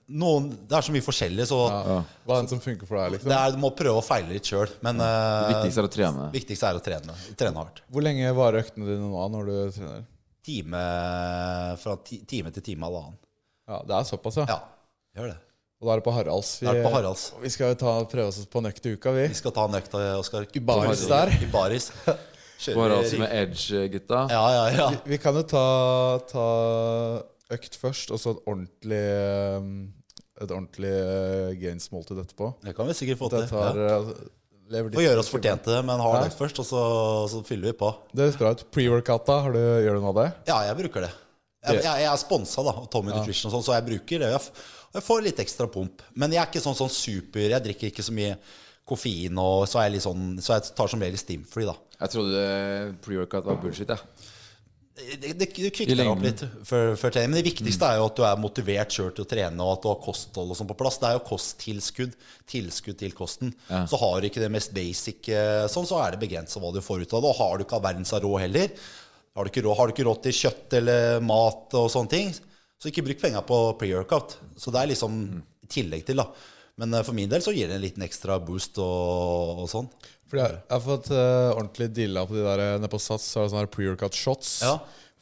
Speaker 4: noen, det er så mye forskjellig, så
Speaker 3: Hva er det som funker for deg? liksom
Speaker 4: det er, du må prøve å feile litt sjøl. Men
Speaker 5: Det
Speaker 4: eh,
Speaker 5: viktigste er å trene.
Speaker 4: viktigst er å trene. Trene hardt.
Speaker 3: Hvor lenge varer øktene dine nå når du trener?
Speaker 4: Time, fra ti, time til time halvannen.
Speaker 3: Ja, Det er såpass, ja.
Speaker 4: Ja, gjør det.
Speaker 3: Og da er det på Haralds. Vi,
Speaker 4: Da er det på Haralds.
Speaker 3: vi skal jo ta, prøve oss på en økt i uka, vi.
Speaker 4: Vi skal ta en økt, eh, Oskar.
Speaker 3: I baris der.
Speaker 4: I baris.
Speaker 5: Bare altså med edge-gutta.
Speaker 4: Ja, ja, ja.
Speaker 3: Vi kan jo ta, ta økt først, og så et ordentlig um, Et ordentlig uh, gains-måltid etterpå.
Speaker 4: Det kan vi sikkert få
Speaker 3: Det
Speaker 4: til.
Speaker 3: tar
Speaker 4: Ja.
Speaker 3: uh, lever
Speaker 4: Får
Speaker 3: litt-
Speaker 4: gjøre oss fortjente, men hard økt først, og så, så fyller vi på.
Speaker 3: Det høres bra ut. Pre-workout, da? Har du, gjør du noe av det?
Speaker 4: Ja, jeg bruker det. Jeg, jeg, jeg er sponsa da, av Tommy Nutrition, og sånn, så jeg bruker det. Jeg, f- jeg får litt ekstra pump. Men jeg er ikke sånn, sånn super Jeg drikker ikke så mye koffein, og så, er jeg litt sånn, så jeg tar som regel Stimfree, da.
Speaker 5: Jeg trodde pre-workout var bullshit. Ja.
Speaker 4: Det, det, det
Speaker 5: I
Speaker 4: kvikner
Speaker 5: lengden. Mm.
Speaker 4: opp litt før, før trening. Men det viktigste er jo at du er motivert sjøl til å trene, og at du har kosthold og sånn på plass. Det er jo kosttilskudd. Tilskudd til kosten. Så har du ikke det mest basic eh, sånn, så er det begrensa hva du får ut av det. Og har du ikke all verdens av råd heller, har du, ikke råd, har du ikke råd til kjøtt eller mat og sånne ting, så ikke bruk penga på pre-workout. Så det er liksom
Speaker 5: Mm.
Speaker 4: i tillegg til, da. Men eh, for min del så gir det en liten ekstra boost og, og sånn.
Speaker 3: Fordi jeg, jeg har fått eh, ordentlig deala på de der eh, nede på Sats. Så er det sånne her pre-workout shots.
Speaker 4: Ja.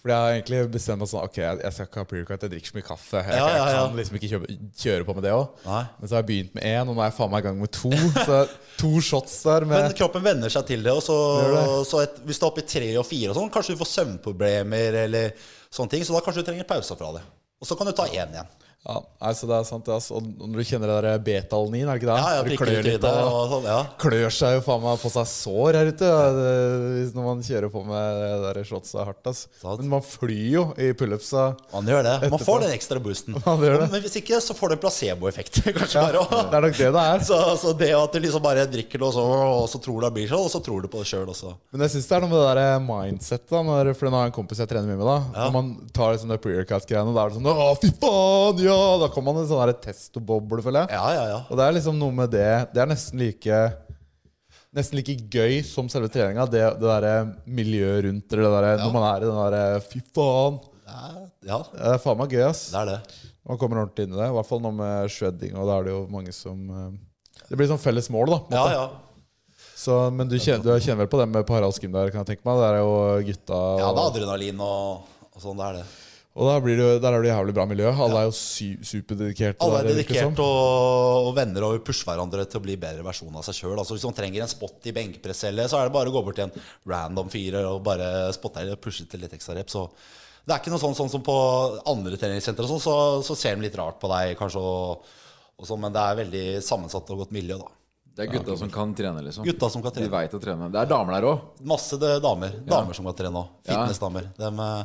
Speaker 3: Fordi jeg har egentlig bestemt meg sånn Ok, jeg, jeg skal ikke ha pre-workout, jeg drikker så mye kaffe. Jeg,
Speaker 4: Ja, ja,
Speaker 3: jeg
Speaker 4: ja.
Speaker 3: kan liksom ikke kjøpe, kjøre på med det òg.
Speaker 4: Nei.
Speaker 3: Men så har jeg begynt med én, og nå er jeg faen meg i gang med to. Så to shots der med
Speaker 4: Men kroppen venner seg til det. Og så,
Speaker 3: Gjør
Speaker 4: så et, hvis du er oppe i tre og fire, og sånn, kanskje du får søvnproblemer, eller sånne ting, så da kanskje du trenger pauser fra det. Og så kan du ta én igjen.
Speaker 3: Ja, nei, så det er sant, det, ass. Og når du kjenner det der beta-alanin, er det ikke det?
Speaker 4: Ja, ja,
Speaker 3: Når du
Speaker 4: prikker ut i det
Speaker 3: og-
Speaker 4: og sånn. Ja.
Speaker 3: klør seg jo faen meg på seg sår her ute ja. det, hvis- når man kjører på med det der shotsa hardt. Ass.
Speaker 4: Sant.
Speaker 3: Men man flyr jo i pullupsa.
Speaker 4: Man gjør det. Man
Speaker 3: Etterpå.
Speaker 4: får den ekstra boosten.
Speaker 3: *laughs* Man gjør det.
Speaker 4: Men hvis ikke, så får du en placeboeffekt. *laughs* kanskje
Speaker 3: Ja,
Speaker 4: bare
Speaker 3: det er nok det det er.
Speaker 4: Så, så det at du liksom bare drikker det, og så, og så tror du det blir sånn, og så tror du på det sjøl også.
Speaker 3: Men jeg syns det er noe med det der mindsettet. da, Når, for nå har jeg en kompis jeg trener mye med. da
Speaker 4: Ja.
Speaker 3: Når man tar liksom det pre-workout-greiene, da er det sånn Å, fy faen, ja! Da kommer man i en sånn der testoboble, føler jeg.
Speaker 4: Ja, ja, ja.
Speaker 3: Og det er liksom noe med det Det er nesten like Nesten like gøy som selve treninga. Det, det derre miljøet rundt eller det der, når man er i den derre Fy faen!
Speaker 4: Ja,
Speaker 3: Det er faen meg gøy, ass.
Speaker 4: det er det.
Speaker 3: Man kommer ordentlig inn i det. I hvert fall nå med shredding, og da er det jo mange som eh, Det blir sånn felles mål, da. på en
Speaker 4: Ja,
Speaker 3: måte.
Speaker 4: ja.
Speaker 3: Så, men du kjenner, du kjenner vel på det med på Haralds Gym der, kan jeg tenke meg. Der er jo gutta
Speaker 4: Ja, det er
Speaker 3: og,
Speaker 4: adrenalin og, og sånn. Det er det.
Speaker 3: og der, blir det, jo- der er det jævlig bra miljø. Alle er jo sy superdedikerte.
Speaker 4: Alle er
Speaker 3: der, virker det som.
Speaker 4: dedikert og, og venner og vil pushe hverandre til å bli bedre versjon av seg sjøl. Altså, hvis man trenger en spot i benkepress, eller så er det bare å gå bort til en random fyrer og bare spotte eller pushe til litt ekstra rep. Så det er ikke noe sånn, sånn som på andre treningssentre, og sånn, så, så ser de litt rart på deg kanskje. Og, og sånn, men det er veldig sammensatt og godt miljø, da.
Speaker 5: Det er gutta som kan trene, liksom.
Speaker 4: Gutta som kan trene.
Speaker 5: De vet å trene. Det er damer der òg.
Speaker 4: Masse de- damer. Damer som kan trene òg.
Speaker 5: Ja.
Speaker 4: Fitnessdamer. Dem eh,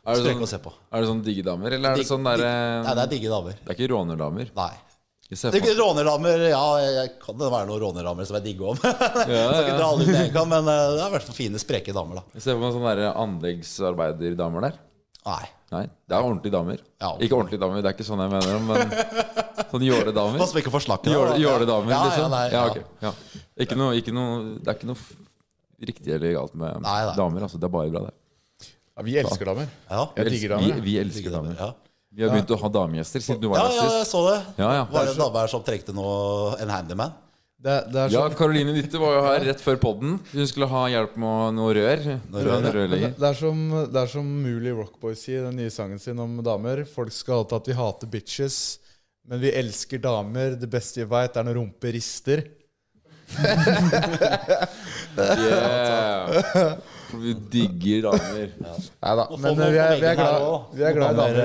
Speaker 5: Er
Speaker 4: skal
Speaker 5: det
Speaker 4: du ikke å se
Speaker 5: sånn,
Speaker 4: på.
Speaker 5: er det sånn digge damer, eller er det
Speaker 4: Digg-
Speaker 5: sånn derre
Speaker 4: digg- Nei, det er digge damer.
Speaker 5: Det er ikke rånerdamer.
Speaker 4: Nei.
Speaker 5: Jeg ser
Speaker 4: Det-
Speaker 5: for-
Speaker 4: Rånerdamer Ja, jeg kan det være noen rånerdamer som er digge om. *laughs*
Speaker 5: Ja,
Speaker 4: Skal ikke
Speaker 5: ja.
Speaker 4: dra alle ut med en gang, men eh, det er i hvert fall fine, spreke damer, da.
Speaker 5: Jeg ser for meg sånne der anleggsarbeiderdamer der.
Speaker 4: Nei.
Speaker 5: Nei, det er ordentlige damer.
Speaker 4: Ja.
Speaker 5: Ikke ordentlige damer, det er ikke sånn jeg mener, men
Speaker 4: *laughs*
Speaker 5: sånn jåledamer.
Speaker 4: Pass på ikke å få slakk. da.
Speaker 5: Jåle- Jåledamer,
Speaker 4: ja,
Speaker 5: liksom.
Speaker 4: Ja, nei,
Speaker 5: Ja,
Speaker 4: ja.
Speaker 5: ok. Ja. Ikke noe, ikke noe, det er ikke noe f- riktig eller galt med
Speaker 4: Nei, nei.
Speaker 5: damer. Altså, det er bare bra, det.
Speaker 3: Ja, vi elsker damer.
Speaker 4: Ja.
Speaker 3: Jeg
Speaker 5: Vi
Speaker 3: digger
Speaker 5: elsker,
Speaker 3: damer.
Speaker 5: vi, vi elsker
Speaker 4: Digge damer,
Speaker 5: damer.
Speaker 4: ja.
Speaker 5: Vi har begynt å ha damegjester siden du
Speaker 4: Ja,
Speaker 5: var
Speaker 4: ja,
Speaker 5: her
Speaker 4: jeg
Speaker 5: sist.
Speaker 4: så det.
Speaker 5: Ja, ja.
Speaker 4: Var det en dame her som trengte noe, en handyman?
Speaker 3: Det, det er
Speaker 5: Ja,
Speaker 3: så,
Speaker 5: Karoline Ditte var jo her rett før podden. Hun skulle ha hjelp med noe rør.
Speaker 4: rør,
Speaker 5: Noe rørlegger.
Speaker 4: *laughs*
Speaker 3: men det, er som, det er som Mooley Rockboys sier i den nye sangen sin om damer. Folk skal hate at vi hater bitches, men vi elsker damer. Det beste jeg veit, er når rumpe rister.
Speaker 5: Yeah. For Vi digger damer.
Speaker 3: Neida,
Speaker 4: Og få
Speaker 3: Men
Speaker 4: noe
Speaker 3: eh, vi er,
Speaker 4: på
Speaker 3: vi er
Speaker 4: veggen her
Speaker 3: glad,
Speaker 4: også.
Speaker 3: vi er glad i
Speaker 4: Noen
Speaker 3: damer.
Speaker 4: damer, eh,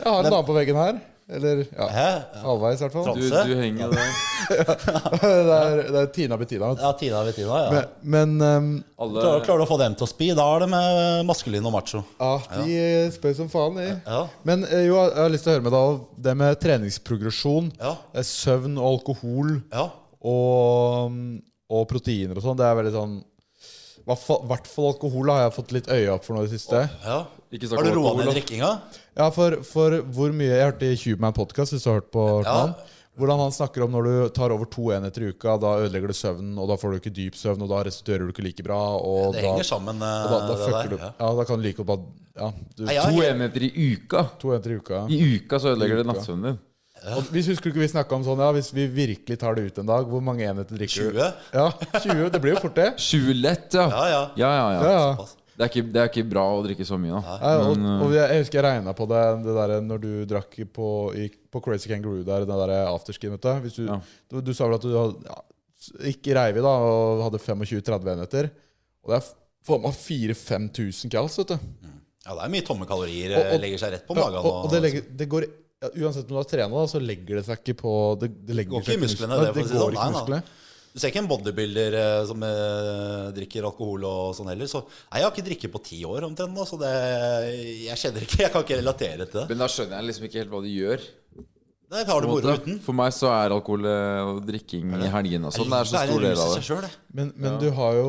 Speaker 3: Jeg har en dame på veggen her. Eller ja,
Speaker 4: Hæ?
Speaker 3: halvveis, i hvert fall.
Speaker 5: Du, du henger jo der.
Speaker 3: *laughs* Det er, det er Tina Bettina. vet du.
Speaker 4: Ja, Tina ved Tina, ja.
Speaker 3: Men, men ehm,
Speaker 5: Alle
Speaker 4: Klarer, klarer du å få dem til å spy? Da er det med maskulin og macho.
Speaker 3: ja, de eh, spør som faen, de.
Speaker 4: Ja.
Speaker 3: Men eh, jo, jeg har lyst til å høre med deg om det med treningsprogresjon.
Speaker 4: Ja.
Speaker 3: eh, Søvn og alkohol
Speaker 4: Ja.
Speaker 3: og, mm, og proteiner og sånn. Det er veldig sånn I hvert fall- hvert fall alkohol da, har jeg fått litt øye opp for nå i det siste.
Speaker 4: ja.
Speaker 5: Ikke snakk
Speaker 4: Har du
Speaker 5: om
Speaker 4: roa
Speaker 5: alkohol,
Speaker 4: ned
Speaker 5: da.
Speaker 4: drikkinga?
Speaker 3: Ja, for, for hvor mye Jeg hørte i Human Podcast, hvis du har hørt på
Speaker 4: Ja.
Speaker 3: han, hvordan han snakker om når du tar over to enheter i uka, da ødelegger du søvnen, og da får du ikke dyp søvn, og da restituerer du ikke like bra, og
Speaker 4: Det
Speaker 3: da,
Speaker 4: henger sammen, eh,
Speaker 3: og da, da
Speaker 4: det
Speaker 3: fucker
Speaker 4: der.
Speaker 3: du
Speaker 4: Ja.
Speaker 3: Ja, da kan du like godt bare Ja, du,
Speaker 4: Nei, ja,
Speaker 5: To
Speaker 4: jeg-
Speaker 5: enheter i uka.
Speaker 3: to enheter i uka.
Speaker 5: I uka så ødelegger det nattsøvnen din.
Speaker 3: Og hvis husker du ikke vi snakka om sånn, ja, hvis vi virkelig tar det ut en dag, hvor mange enheter drikker du?
Speaker 4: 20?
Speaker 3: Ja, 20. Det blir jo fort det.
Speaker 5: 20 lett, ja.
Speaker 4: Ja, ja.
Speaker 5: Ja, ja,
Speaker 3: Ja,
Speaker 5: ja.
Speaker 3: ja.
Speaker 4: Pass.
Speaker 5: Det, er ikke, det er ikke bra å drikke så mye, da.
Speaker 3: Ja, og, og jeg, jeg husker jeg regna på det Det der når du drakk på, i, på Crazy Kangaroo der, den der afterskin. Vet du. Hvis du,
Speaker 5: Ja.
Speaker 3: du, du sa vel at du hadde, ja, gikk i Reivi da og hadde 25-30 enheter. Og det er f- faen meg 4000-5000 kals, vet du.
Speaker 4: Ja, det er mye tomme kalorier.
Speaker 3: Og- og-
Speaker 4: eh, legger seg rett på
Speaker 3: Ja,
Speaker 4: magen.
Speaker 3: og, og det legger, det går, ja, uansett om du har trena, da, så legger det seg ikke på Det, det legger
Speaker 4: Går ikke i
Speaker 3: seg
Speaker 4: musklene,
Speaker 3: Nei,
Speaker 4: det, for å si det
Speaker 3: går
Speaker 4: sånn.
Speaker 3: ikke i
Speaker 4: Nei,
Speaker 3: musklene.
Speaker 4: Du ser ikke en bodybuilder eh, som eh, drikker alkohol og sånn heller. Så, nei, jeg har ikke drikket på ti år omtrent nå, så det, jeg kjenner ikke Jeg kan ikke relatere til det.
Speaker 5: Men da skjønner jeg liksom ikke helt hva de gjør.
Speaker 4: Nei, jeg har det
Speaker 5: på en
Speaker 4: moro
Speaker 5: måte.
Speaker 4: uten.
Speaker 5: For meg så er alkohol eh, og drikking i helgene og sånn. Det er så
Speaker 4: en
Speaker 5: stor del
Speaker 4: rus i
Speaker 5: av
Speaker 4: seg
Speaker 5: det.
Speaker 4: selv, det.
Speaker 3: Men, men du har jo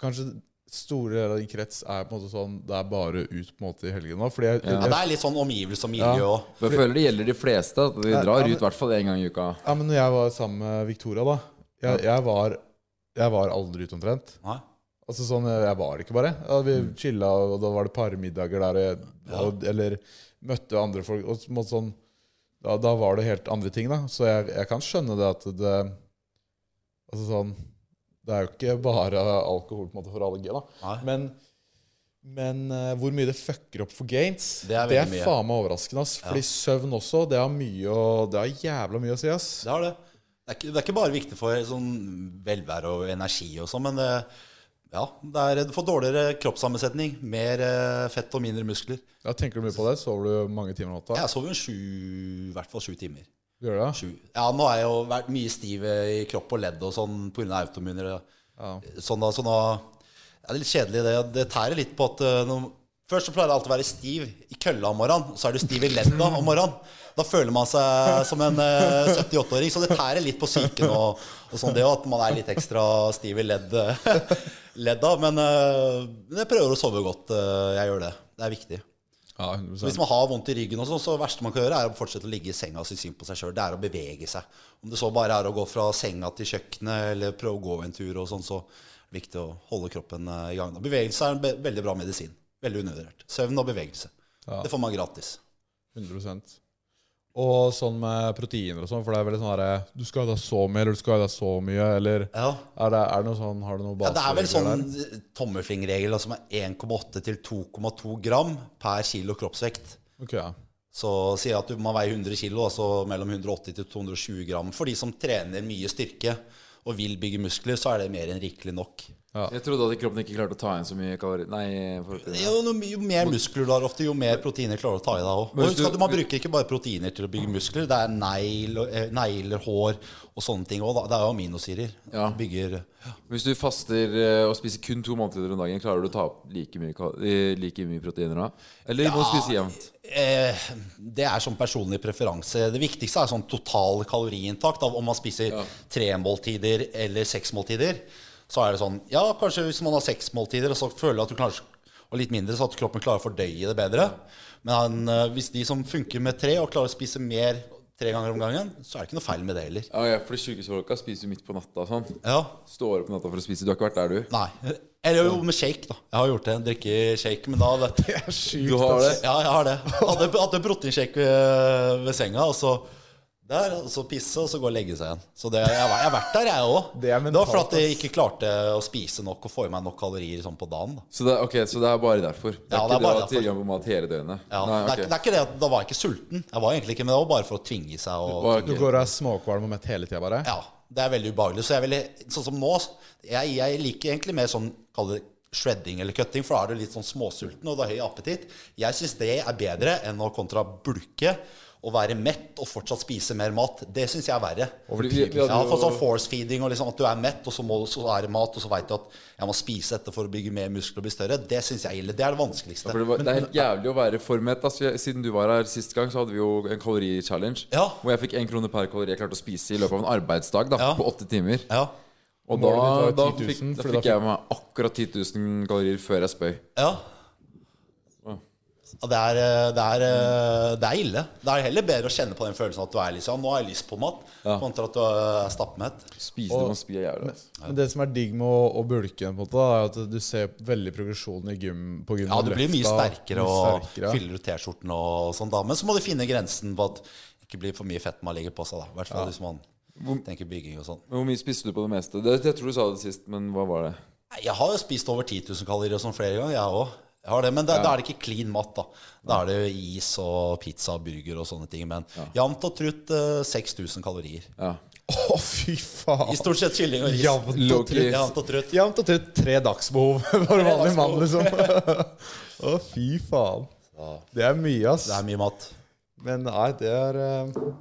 Speaker 3: kanskje store deler av din krets er på en måte sånn Det er bare ut på en måte i helgen nå. Fordi jeg,
Speaker 4: Ja,
Speaker 3: jeg,
Speaker 4: det er litt sånn omgivelse og miljø
Speaker 3: Ja.
Speaker 4: og
Speaker 5: For jeg føler det gjelder de fleste. At de
Speaker 3: Nei, ja,
Speaker 5: drar
Speaker 3: men-
Speaker 5: ut i hvert fall én gang i uka.
Speaker 3: ja, men når jeg var sammen med Victoria, da Jeg, jeg, var, jeg var aldri ute omtrent.
Speaker 4: Nei.
Speaker 3: Altså sånn, Jeg var det ikke, bare. Ja, vi
Speaker 4: Mm.
Speaker 3: chilla, og da var det parmiddager der. Og jeg, og, eller møtte andre folk. Og så på en måte sånn, da, da var det helt andre ting, da. Så jeg, jeg kan skjønne det at det Altså sånn Det er jo ikke bare alkohol på en måte for alle, da.
Speaker 4: Nei.
Speaker 3: Men, men eh, hvor mye det fucker opp for gains,
Speaker 4: Det er veldig mye.
Speaker 3: faen meg overraskende. ass. Fordi søvn også, det har mye å, Det har jævla mye å si, ass.
Speaker 4: Det har det. Det er ikke, det er ikke bare viktig for sånn velvære og energi og sånn, men eh, ja, det er, du får dårligere kroppssammensetning, mer eh, fett og mindre muskler.
Speaker 3: Ja, tenker du mye på det? Sover du mange timer om natta?
Speaker 4: Jeg sover jo sju, i hvert fall sju timer.
Speaker 3: Gjør du det?
Speaker 4: Sju. Ja, nå har jeg jo vært mye stiv i kropp og ledd og sånn pga. autoimmuner. Ja. Sånn da, så nå er det litt kjedelig. Det, det tærer litt på at eh, når, Først så pleier jeg alltid å være stiv i kølla om morgenen, og så er du stiv i ledda om morgenen. Da føler man seg som en eh, 78-åring, så det tærer litt på psyken og, og sånn det òg, at man er litt ekstra stiv i ledd, *laughs* ledda. Men eh, men jeg prøver å sove godt. eh, Jeg gjør det. Det er viktig.
Speaker 3: Ja,
Speaker 4: Så
Speaker 3: 100
Speaker 4: Hvis man har vondt i ryggen, og sånn, så det verste man kan gjøre, er å fortsette å ligge i senga og synes synd på seg sjøl. Det er å bevege seg. Om det så bare er å gå fra senga til kjøkkenet, eller prøve å gå en tur, og sånn, så er det viktig å holde kroppen eh, i gang. Da. Bevegelse er en be veldig bra medisin. Veldig undervurdert. Søvn og bevegelse. Det får man gratis.
Speaker 3: 100 Og sånn med proteiner og sånn, for det er veldig sånn herre Du skal ha i deg så mye, eller du skal ha i deg så mye, eller
Speaker 4: Ja.
Speaker 3: er, det, er det noe sånn Har du noe
Speaker 4: Ja, det er vel
Speaker 3: baseregler
Speaker 4: sånn tommelfingerregel altså, som er 1,8 til 2,2 gram per kilo kroppsvekt.
Speaker 3: der? Ok, ja.
Speaker 4: Så sier jeg at du- man veier 100 kg, altså mellom 180 til 220 gram. For de som trener mye styrke og vil bygge muskler, så er det mer enn rikelig nok.
Speaker 5: Jeg trodde at kroppen ikke klarte å ta inn så mye kalorier. Nei, for-
Speaker 4: Jo, no- jo mer muskler du har ofte, jo mer proteiner klarer du å ta i deg òg.
Speaker 5: Men hvis
Speaker 4: Husk
Speaker 5: du-
Speaker 4: at man bruker ikke bare proteiner til å bygge muskler. Det er negl- eh, negler, hår og sånne ting òg. Det er jo aminosyrer.
Speaker 5: Ja.
Speaker 4: Bygger
Speaker 5: Hvis du faster eh, og spiser kun to måltider om dagen, klarer du å ta opp like mye, kal- eh, like mye proteiner da? Eller må du spise jevnt?
Speaker 4: Eh, det er sånn personlig preferanse. Det viktigste er sånn total kaloriinntakt. Av om man spiser tre måltider eller seks måltider. Så er det sånn Ja, kanskje hvis man har seks måltider, og så føler at du kanskje og litt mindre, så at kroppen klarer å fordøye det bedre. Men han, eh, hvis de som funker med tre, og klarer å spise mer tre ganger om gangen, så er det ikke noe feil med det heller.
Speaker 5: Ja, ja, for de sjukeste folka spiser jo midt på natta og sånn.
Speaker 4: Ja,
Speaker 5: Står opp på natta for å spise. Du har ikke vært der, du?
Speaker 4: Nei. Eller jo, med shake, da. Jeg har gjort det. Drikke shake. Men da vet jeg
Speaker 5: Du har ass. det?
Speaker 4: Ja, jeg har det. Hadde, hadde proteinshake ved, ved senga, og så der, og så pisse, og så gå og legge seg igjen. Så det, jeg, har- jeg har vært der, jeg òg.
Speaker 3: Det er
Speaker 4: var
Speaker 3: mentalt,
Speaker 4: fordi at jeg
Speaker 3: ass.
Speaker 4: ikke klarte å spise nok og få i meg nok kalorier sånn på dagen. Da.
Speaker 5: Så det, er- ok, så det er bare derfor? Det er
Speaker 4: Ja, det er
Speaker 5: ikke det
Speaker 4: bare
Speaker 5: å ha
Speaker 4: derfor.
Speaker 5: tilgang på mat hele døgnet?
Speaker 4: Ja,
Speaker 5: Nei,
Speaker 4: det,
Speaker 5: ok.
Speaker 4: er, det er ikke det at da var jeg ikke sulten. Jeg var egentlig ikke, men det var bare for å tvinge seg. Og,
Speaker 5: Bare-
Speaker 3: Du
Speaker 5: ok.
Speaker 3: går og er småkvalm og mett hele tida, bare?
Speaker 4: Ja, det er veldig ubehagelig. Så jeg er veldig, sånn som nå, jeg, jeg liker egentlig mer sånn, kall det shredding eller cutting, for da er du litt sånn småsulten, og du har høy appetitt. Jeg syns det er bedre enn å kontra bulke og være mett og fortsatt spise mer mat. Det syns jeg er verre.
Speaker 5: Fordi vi- vi hadde
Speaker 4: Ja,
Speaker 5: jo-
Speaker 4: for sånn force feeding og liksom at du er mett, og så, må, så er det mat, og så veit du at jeg må spise dette for å bygge mer muskler og bli større. Det syns jeg er ille. Det er det vanskeligste.
Speaker 5: For det, var, det er helt jævlig å være for mett. Altså, jeg- siden du var her sist gang, så hadde vi jo en kalori-challenge.
Speaker 4: Ja.
Speaker 5: Hvor jeg fikk én krone per kalori jeg klarte å spise i løpet av en arbeidsdag da,
Speaker 4: Ja.
Speaker 5: på åtte timer.
Speaker 4: Ja,
Speaker 5: Og
Speaker 3: målet
Speaker 5: da,
Speaker 3: ditt var
Speaker 5: da,
Speaker 3: 10 000,
Speaker 5: fikk, da
Speaker 3: fordi
Speaker 5: fikk
Speaker 3: da
Speaker 5: jeg meg akkurat 10 000 kalorier før jeg spøy.
Speaker 4: ja. Ja, Det er, eh, det, er, eh, det er ille. Det er heller bedre å kjenne på den følelsen at du er liksom, nå har jeg lyst på mat,
Speaker 5: Ja.
Speaker 4: kontra at du er stappmett.
Speaker 5: Spise det man spyr jævlig. Altså.
Speaker 3: Men det som er digg med å, å bulke, på en måte, da, er at du ser veldig progresjonen i gym, på gym.
Speaker 4: Ja, du blir mye sterkere og
Speaker 3: sterkere.
Speaker 4: fyller ut T-skjorten og sånn, da. Men så må du finne grensen på at det ikke blir for mye fett man legger på seg, da. I hvert fall hvis man tenker bygging og sånn.
Speaker 5: Men Hvor mye spiste du på det meste? Det, jeg tror du sa det sist, men hva var det?
Speaker 4: Nei, Jeg har jo spist over 10 000 kalorier og sånn flere ganger, jeg òg. Jeg har det, men da, da er det ikke clean mat, da. Da er det jo is og pizza og burger og sånne ting. Men jevnt og trutt eh, 6000 kalorier.
Speaker 5: Ja.
Speaker 3: Å, fy
Speaker 4: I
Speaker 3: faen!
Speaker 4: stort sett kylling og ris.
Speaker 3: Jevnt og
Speaker 5: Low-key. trutt.
Speaker 4: Jevnt og trutt.
Speaker 3: Jevnt og trutt tre dagsbehov *laughs* for en vanlig mann, liksom. *laughs* Å, fy faen. Det er mye, ass.
Speaker 4: Det er mye mat.
Speaker 3: Men nei, det er eh,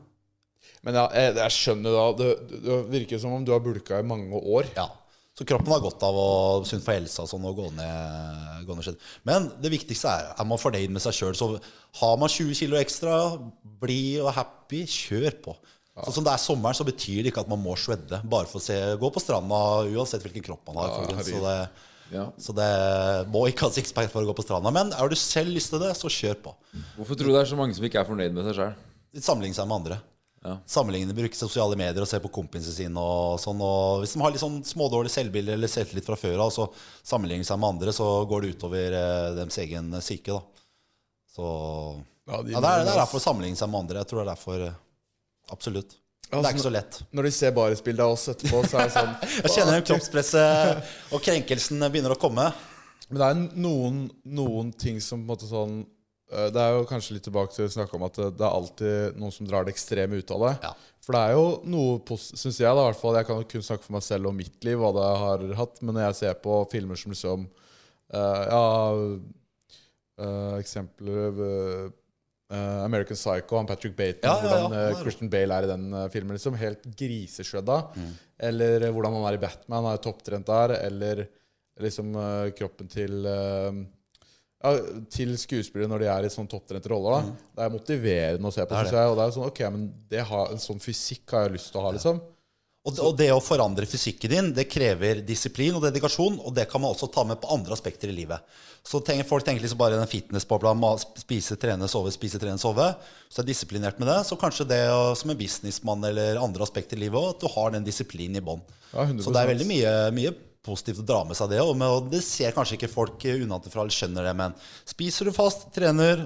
Speaker 3: Men ja, jeg, jeg skjønner da det, det virker som om du har bulka i mange år.
Speaker 4: Ja. Så kroppen har godt av å sunt for helsa og sånn, og gå ned, gå ned skjedd. Men det viktigste er er man fornøyd med seg sjøl. Så har man 20 kg ekstra, blid og happy, kjør på. Sånn som det er sommeren, så betyr det ikke at man må shredde. Bare for å se, gå på stranda uansett hvilken kropp man har. folkens. så, det,
Speaker 5: Ja.
Speaker 4: så det må ikke ha sixpack for å gå på stranda. Men har du selv lyst til det, så kjør på.
Speaker 5: Hvorfor tror du det er så mange som ikke er fornøyd med seg sjøl?
Speaker 4: Litt sammenligne seg med andre.
Speaker 5: Ja.
Speaker 4: Sammenligne, bruke sosiale medier og se på kompisene sine. og sånn, og Hvis de har litt sånn smådårlig selvbilde eller selvtillit fra før av, så sammenligner de seg med andre, så går det utover eh, deres egen psyke. da. Så
Speaker 3: Ja, de
Speaker 4: ja, det, er, det
Speaker 3: må-
Speaker 4: er derfor å sammenligne seg med andre. Jeg tror det er derfor eh, Absolutt. det er ikke så lett.
Speaker 3: Når de ser barisbildet av oss etterpå, så er det sånn *laughs*
Speaker 4: Jeg kjenner den kroppspresset *laughs* og krenkelsen begynner å komme.
Speaker 3: Men det er noen, noen ting som på en måte sånn eh, Det er jo kanskje litt tilbake til å snakke om at det det er alltid noen som drar det ekstreme ut av det.
Speaker 4: Ja.
Speaker 3: For det er jo noe, syns jeg, da, i hvert fall Jeg kan jo kun snakke for meg selv og mitt liv, hva det har hatt, men når jeg ser på filmer som liksom eh, Ja, eh, eksempler eh, eh, American Psycho, han Patrick Baton,
Speaker 4: Ja, ja, ja.
Speaker 3: hvordan eh, Christian Bale er i den eh, filmen. liksom Helt griseshredda.
Speaker 4: Mm.
Speaker 3: Eller eh, hvordan han er i Batman, han er topptrent der. Eller liksom eh, kroppen til eh, ja, Til skuespillere når de er i sånn topptrente roller. Da. Det er motiverende å se på,
Speaker 4: Mm. Det er
Speaker 3: synes jeg. Og det er sånn, ok, men det har, En sånn fysikk har jeg lyst til å ha, liksom.
Speaker 4: Og, og det å forandre fysikken din, det krever disiplin og dedikasjon, og det kan man også ta med på andre aspekter i livet. Så tenker, folk tenker liksom bare i den fitnessbobla, ma- spise, trene, sove, spise, trene, sove. Så er disiplinert med det. Så kanskje det å- som en businessmann eller andre aspekter i livet òg, at du har den disiplinen i bånn.
Speaker 3: Ja, 100%.
Speaker 4: så det er veldig mye, mye positivt å dra med seg det. Og, med, og det ser kanskje ikke folk unnafra eller skjønner det, men spiser du fast, trener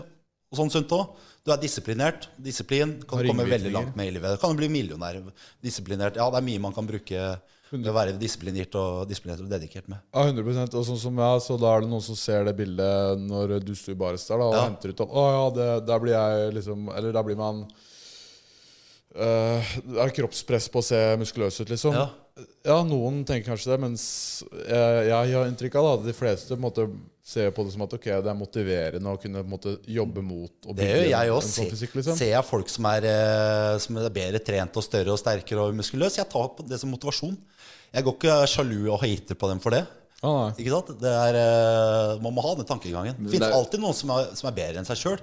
Speaker 4: og sånn sunt òg, du er disiplinert. Disiplin kan du komme veldig
Speaker 3: ringvirkninger.
Speaker 4: langt med i livet. Du kan bli millionær. Disiplinert. Ja, det er mye man kan bruke ved å være disiplinert og, disiplinert og dedikert med.
Speaker 3: Ja, 100 Og sånn som jeg, så da er det noen som ser det bildet når du sto i baris der, da, og
Speaker 4: Ja.
Speaker 3: henter ut opp Å ja, det, der blir jeg liksom Eller der blir man øh, Det er kroppspress på å se muskuløs ut, liksom.
Speaker 4: Ja.
Speaker 3: Ja, noen tenker kanskje det, mens jeg, jeg har inntrykk av da, at de fleste på en måte ser på det som at ok, det er motiverende å kunne på en måte jobbe mot og
Speaker 4: Det gjør jeg òg.
Speaker 3: en
Speaker 4: Se,
Speaker 3: sånn fysikk, liksom.
Speaker 4: Ser jeg folk som er, eh, som er bedre trent og større og sterkere og muskuløse, jeg tar på det som motivasjon. Jeg går ikke sjalu og hater på dem for det.
Speaker 3: Ja, nei.
Speaker 4: Ikke sant? Det er, eh, man må ha den tankegangen. Det
Speaker 5: det
Speaker 4: fins
Speaker 5: er-
Speaker 4: alltid noen som er, som er bedre enn seg sjøl.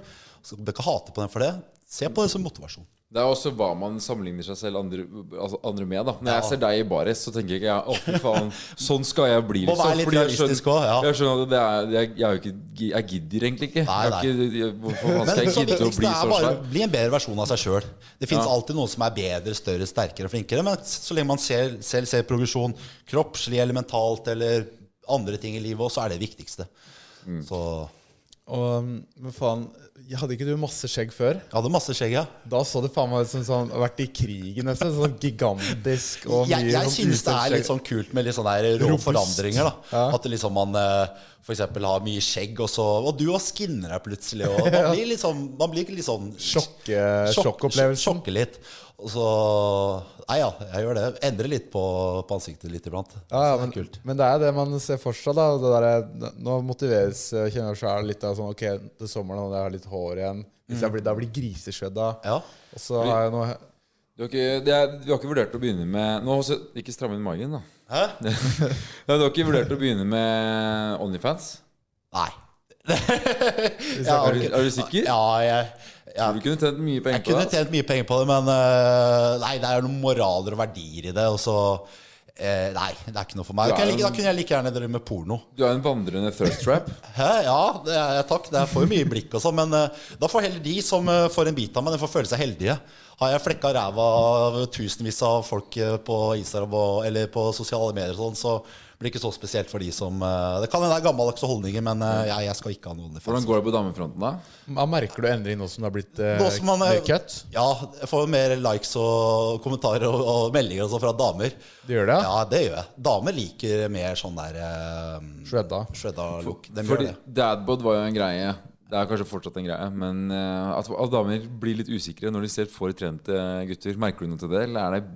Speaker 4: Du bør ikke hate på dem for det. Se på det som motivasjon.
Speaker 5: Det er også hva man sammenligner seg selv andre, altså andre med. da Når jeg ser deg i baris, så tenker ikke jeg Å fy
Speaker 4: *laughs*
Speaker 5: faen, sånn skal jeg bli.
Speaker 4: Må være litt
Speaker 5: Fordi jeg
Speaker 4: realistisk
Speaker 5: skjønner-
Speaker 4: også, ja.
Speaker 5: Jeg skjønner at det er jeg, jeg, er jo ikke, jeg gidder egentlig ikke.
Speaker 4: Nei,
Speaker 5: Jeg er ikke jeg, hvorfor faen
Speaker 4: Men
Speaker 5: skal jeg
Speaker 4: så
Speaker 5: gidde å
Speaker 4: viktigst
Speaker 5: bli
Speaker 4: det er
Speaker 5: så
Speaker 4: bare
Speaker 5: svær?
Speaker 4: å bli en bedre versjon av seg sjøl. Det fins
Speaker 5: Ja.
Speaker 4: alltid noen som er bedre, større, sterkere, flinkere. Men så lenge man ser, selv ser progresjon kroppslig eller mentalt eller andre ting i livet, også, så er det det viktigste.
Speaker 5: Mm.
Speaker 4: Så
Speaker 3: Og, men faen, jeg hadde ikke du masse skjegg før?
Speaker 4: jeg hadde masse skjegg, ja.
Speaker 3: Da så det faen meg ut som sånn, vært i krigen nesten. Sånn gigantisk og mye
Speaker 4: Jeg, jeg
Speaker 3: sånn
Speaker 4: syns det er litt sånn kult med litt sånn der rå
Speaker 3: Robust.
Speaker 4: forandringer. da
Speaker 3: Ja.
Speaker 4: At det liksom man eh, for eksempel har mye skjegg, og så Og du har skinner deg plutselig,
Speaker 3: *laughs*
Speaker 4: og man blir liksom Man blir ikke litt sånn
Speaker 3: Sjokke- sjokkopplevelsen.
Speaker 4: Sjokke litt. Og så Nei ja, jeg gjør det. Endrer litt på, på ansiktet litt iblant.
Speaker 3: Ja,
Speaker 4: Så det
Speaker 3: ja, men,
Speaker 4: er kult.
Speaker 3: men det er det man ser for seg. da det der, er- Nå motiveres eh, kjenner jeg selv litt av sånn Ok, til sommeren når jeg har litt hår igjen Hvis jeg blir, Da blir
Speaker 4: Mm.
Speaker 3: griseskjødda.
Speaker 4: Ja.
Speaker 3: Og så har jeg noe
Speaker 5: Du har, ikke, det er, du har ikke vurdert å begynne med Nå også, Ikke stramme inn magen, da.
Speaker 3: *laughs*
Speaker 4: Hæ?
Speaker 5: Nei, du har ikke vurdert å begynne med Onlyfans?
Speaker 4: Nei. *laughs*
Speaker 5: Ja, er, du, er du sikker?
Speaker 4: Ja, jeg, jeg
Speaker 5: Du kunne tjent mye
Speaker 4: Jeg
Speaker 5: penger på
Speaker 4: kunne
Speaker 5: det. ass.
Speaker 4: tjent mye penger på det, men eh, nei, det er noen moraler og verdier i det. Og så eh, Nei, det er ikke noe for meg.
Speaker 5: Du
Speaker 4: Da kunne
Speaker 5: er
Speaker 4: jeg, like- da kunne jeg like gjerne drevet med porno.
Speaker 5: Du er en vandrende thirst trap.
Speaker 4: Hæ? Ja, det er, takk. Det er for mye blikk og sånn, men eh, da får heller de som eh, får en bit av meg, de får føle seg heldige. Har jeg flekka ræva av tusenvis av folk eh, på Instagram og, eller på sosiale medier og sånn, så blir det ikke så spesielt for de som eh, Det kan hende det er gammeldagse holdninger, men eh, jeg, jeg skal ikke ha noen
Speaker 5: Hvordan går det på damefronten, da?
Speaker 3: Ja, Merker du endring nå som det har blitt eh,
Speaker 4: Nå som man er-
Speaker 3: mer cut?
Speaker 4: Ja, jeg får mer likes og kommentarer og, og meldinger og sånn fra damer.
Speaker 3: Du gjør det?
Speaker 4: Ja, det gjør jeg. Damer liker mer sånn der um,
Speaker 3: Shredda.
Speaker 4: shredda look. De
Speaker 5: Fordi
Speaker 4: gjør det.
Speaker 5: dadbod var jo en greie. Det er kanskje fortsatt en greie, men eh, at, at damer blir litt usikre når de ser for trente gutter. Merker du noe til det, eller er det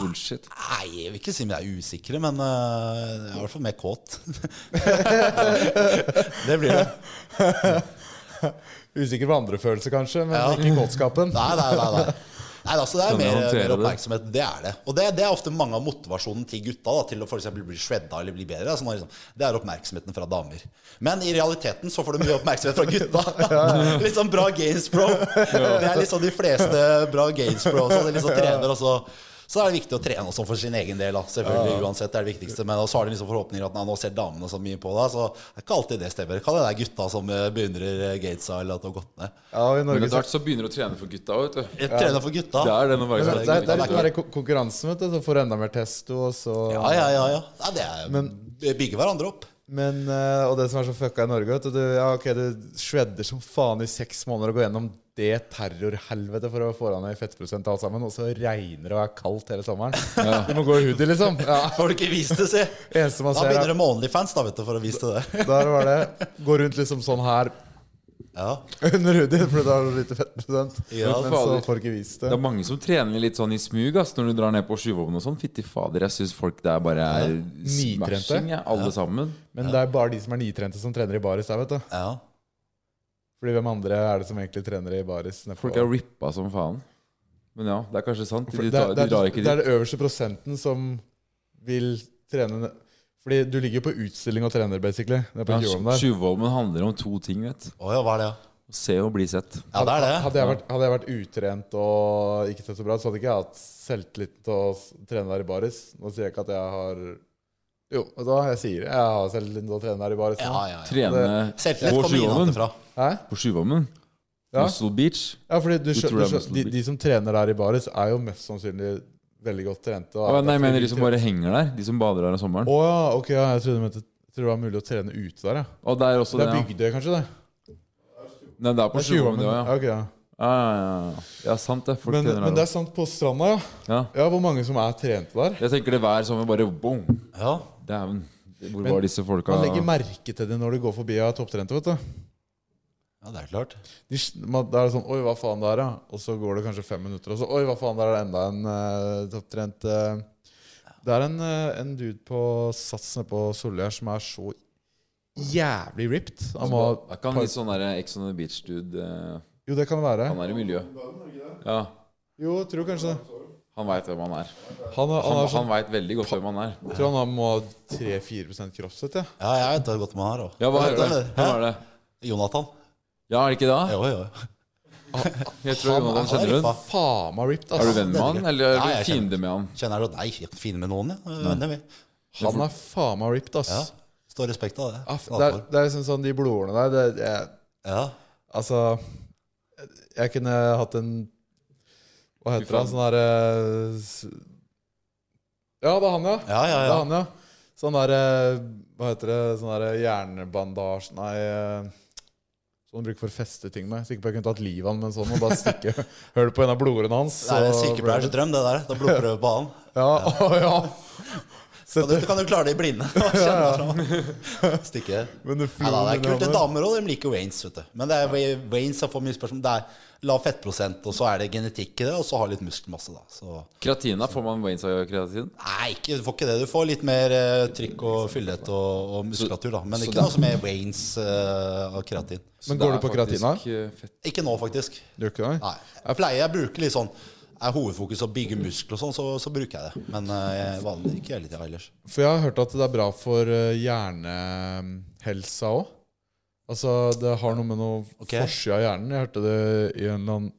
Speaker 5: bullshit?
Speaker 4: Nei, jeg vil ikke si om jeg er usikre, men uh, jeg er i hvert fall mer kåt. *laughs* det blir det.
Speaker 3: Usikker på andre følelser, kanskje, men ikke kåtskapen.
Speaker 4: Nei, nei, nei. nei. Nei, altså Det er
Speaker 5: Kan jeg
Speaker 4: mer,
Speaker 5: håndtere
Speaker 4: mer
Speaker 5: det?
Speaker 4: oppmerksomhet. Det er det. Og det, det er ofte mange av motivasjonen til gutta da, til å for eksempel bli shredda eller bli bedre. Altså, når liksom, det er oppmerksomheten fra damer. Men i realiteten så får du mye oppmerksomhet fra gutta. *laughs* litt sånn bra gains pro. Det er liksom de fleste bra gains pro. Så, det er liksom trener også. så er det viktig å trene også for sin egen del. Da. Selvfølgelig, uansett, det er det viktigste. Men så har de liksom forhåpninger at nei, nå ser damene så mye på deg, så det er ikke alltid det stemmer. Kan det være gutta som eh, beundrer eh, gatesa eller at det har gått ned.
Speaker 3: Ja, i
Speaker 5: Men
Speaker 3: Norge
Speaker 5: etter hvert så begynner du å trene for gutta òg, vet du.
Speaker 4: Jeg trener for gutta.
Speaker 5: Det er det å være
Speaker 3: Men det, det, er-
Speaker 5: glad i
Speaker 3: det er litt
Speaker 5: gutta.
Speaker 3: mer ko- konkurransen, vet du. Så får du enda mer testo, og så
Speaker 4: Ja, ja, ja. ja. ja det er, bygger hverandre opp.
Speaker 3: Men, eh, Og det som er så fucka i Norge, vet du du- Ja, ok, du shredder som faen i seks måneder og går gjennom det terrorhelvetet for å få deg ned i fettprosent alt sammen, og så regner det og er kaldt hele sommeren. Du må gå i hoodie, liksom. *laughs* Ja.
Speaker 4: Får du ikke vist det, si.
Speaker 3: Eneste man
Speaker 4: Da
Speaker 3: ser,
Speaker 4: begynner
Speaker 3: er,
Speaker 4: du med Onlyfans, da, vet du, for å vise til det.
Speaker 3: der var det. Gå rundt liksom sånn her
Speaker 4: Ja.
Speaker 3: under hoodien, for da har du lite fettprosent.
Speaker 4: Ja,
Speaker 3: Men
Speaker 5: fader.
Speaker 3: så får du ikke vist
Speaker 5: Det
Speaker 3: det.
Speaker 5: er mange som trener litt sånn i smug ass, når du drar ned på skyvåpen og sånn. Fytti fader, jeg syns folk der bare er
Speaker 3: Nitrente.
Speaker 5: smashing, ja, alle sammen.
Speaker 3: Men det er bare de som er nitrente, som trener i baris der, vet du.
Speaker 4: ja.
Speaker 3: Fordi hvem andre er det som egentlig trener i baris? nedpå-
Speaker 5: Folk er rippa som faen. Men ja, det er kanskje sant.
Speaker 3: For
Speaker 5: De,
Speaker 3: det,
Speaker 5: tar,
Speaker 3: er- det,
Speaker 5: de drar
Speaker 3: er,
Speaker 5: ikke
Speaker 3: det er
Speaker 5: dit.
Speaker 3: den øverste prosenten som vil trene Fordi du ligger jo på utstilling og trener, basically. Det er på
Speaker 5: Ja,
Speaker 3: Gjøren der.
Speaker 5: Skyvåpen handler om to ting, vet du.
Speaker 4: Å ja, hva er det? ja?
Speaker 5: Å Se og bli sett.
Speaker 4: Ja, det er det.
Speaker 3: Hadde jeg, vært, hadde jeg vært utrent og ikke sett så bra ut, så hadde ikke jeg hatt selvtillit til å s- trene der i baris. Nå sier jeg ikke at jeg har Jo, og da jeg sier jeg har selvtillit til å trene der i baris.
Speaker 4: Ja,
Speaker 3: nå.
Speaker 4: ja, ja.
Speaker 5: Trene
Speaker 4: Selvtillit
Speaker 5: på
Speaker 4: kommer
Speaker 5: skyvåpen.
Speaker 4: innenfra.
Speaker 3: Hæ?
Speaker 5: På skyvåpen.
Speaker 3: Ja.
Speaker 5: Muscle Beach.
Speaker 3: ja, fordi du,
Speaker 5: Du
Speaker 3: skjø-
Speaker 5: tror
Speaker 3: du
Speaker 5: det er
Speaker 3: skjø- de, de som trener der i baris, er jo mest sannsynlig veldig godt trente.
Speaker 5: Å, nei, jeg mener de som bare henger der. De som bader der om sommeren.
Speaker 3: Å ja, ok, ja, jeg trodde du mente jeg trodde det var mulig å trene ute der, ja.
Speaker 5: Og det er også
Speaker 3: Det
Speaker 5: det,
Speaker 3: er
Speaker 5: ja.
Speaker 3: Bygdøy, kanskje? det?
Speaker 5: Nei, det er på
Speaker 3: Det er
Speaker 5: skyvåpen,
Speaker 3: Tjuvholmen,
Speaker 5: det også, ja.
Speaker 3: ok, ja.
Speaker 5: Ja, ja, ja, ja. ja, sant det. Folk
Speaker 3: Men,
Speaker 5: trener
Speaker 3: men det
Speaker 5: der
Speaker 3: er sant på stranda, ja.
Speaker 5: også. Ja.
Speaker 3: Ja, Hvor mange som er trente der.
Speaker 5: Jeg tenker det hver sommer bare boom.
Speaker 4: Ja.
Speaker 5: Dæven. Hvor var disse folka?
Speaker 3: Man legger merke til det når du går forbi av topptrente. vet du.
Speaker 4: ja, det er klart.
Speaker 3: De, s- man, da er det sånn Oi, hva faen det er, ja. Og så går det kanskje fem minutter, og så Oi, hva faen, der er det enda en eh, topptrent eh. Det er en, eh, en dude på Sats nede på Solli her som er så jævlig ripped. Han må,
Speaker 5: Er ikke han litt sånn der Ex on the Beach-dude? eh,
Speaker 3: jo, det kan det være.
Speaker 5: Han er i miljøet. Ja,
Speaker 3: Jo, jeg tror kanskje det.
Speaker 5: han veit hvem han er.
Speaker 3: Han, er- han,
Speaker 5: Han,
Speaker 3: er sånn,
Speaker 5: han veit veldig godt hvem han er.
Speaker 3: jeg tror han har- må ha 3-4 kroppsfett, ja.
Speaker 4: Ja, jeg vet det godt man har òg.
Speaker 5: Ja, hva heter det? Hvem er det?
Speaker 4: Jonathan.
Speaker 5: Ja, er det ikke det?
Speaker 4: Jo, jo.
Speaker 5: Jeg tror
Speaker 4: Han
Speaker 5: Jonathan
Speaker 4: er
Speaker 5: kjenner hun.
Speaker 4: rippa.
Speaker 3: Faen meg ripped,
Speaker 5: Er
Speaker 3: altså.
Speaker 5: du venn med han, eller
Speaker 4: Nei,
Speaker 5: er
Speaker 4: jeg
Speaker 5: du fiende med han?
Speaker 4: Kjenner du Nei, jeg er ikke fin med noen, ja. Venner, vi.
Speaker 3: Han er faen meg ripped, ass.
Speaker 4: Ja. Står respekt av det.
Speaker 3: Ja, Ah, f- Det er, det er liksom sånn de blodårene der det, jeg,
Speaker 4: Ja.
Speaker 3: Altså Jeg kunne hatt en Hva heter det?
Speaker 5: faen.
Speaker 3: Sånn der eh, s- Ja, det er han, ja.
Speaker 4: Ja, ja,
Speaker 3: Det
Speaker 4: ja.
Speaker 3: er han, ja. Sånn der eh, Hva heter det? Sånn der hjernebandasje Nei eh, Sånn du bruker for å feste ting med. Sikker på jeg kunne tatt livet av han med en sånn og bare stikke *laughs* høl på en av blodårene hans.
Speaker 4: Det er en
Speaker 3: så-
Speaker 4: sykepleiers drøm, det der. Da blodprøve på han.
Speaker 3: Ja, *laughs* å, ja.
Speaker 4: Kan du, kan du klare det i
Speaker 3: *laughs*
Speaker 4: blinde? Kjenne fra- Stikke.
Speaker 3: Men det
Speaker 4: Nei, da, det er kult.
Speaker 3: flyr
Speaker 4: Det er
Speaker 3: under.
Speaker 4: damer òg, de liker Waynes. vet du Men det er Wa- Waynes jeg får mye spørsmål Det er lav fettprosent, og så er det genetikk i det, og så har litt muskelmasse, da. Så
Speaker 5: Kreatina, får man Waynes av kreatin?
Speaker 4: Nei, ikke, du får ikke det. Du får litt mer eh, trykk og fyldighet og, og muskulatur, da. Men
Speaker 5: så
Speaker 4: ikke
Speaker 5: det-
Speaker 4: noe som er Waynes eh, og kreatin.
Speaker 5: Så
Speaker 3: Men
Speaker 5: det
Speaker 3: går
Speaker 5: er
Speaker 3: du
Speaker 5: faktisk,
Speaker 3: på kreatina?
Speaker 5: eh, fett.
Speaker 4: Ikke nå, faktisk.
Speaker 3: Gjør ikke det?
Speaker 4: Nei. Jeg pleier jeg bruker litt sånn Er hovedfokus å bygge muskler og sånn, så, så bruker jeg det. Men eh, jeg vanlig ikke hele tida ellers.
Speaker 3: For jeg har hørt at det er bra for eh, hjernehelsa òg. Altså, det har noe med noe
Speaker 4: Ok.
Speaker 3: forsida av hjernen. Jeg hørte det i en eller annen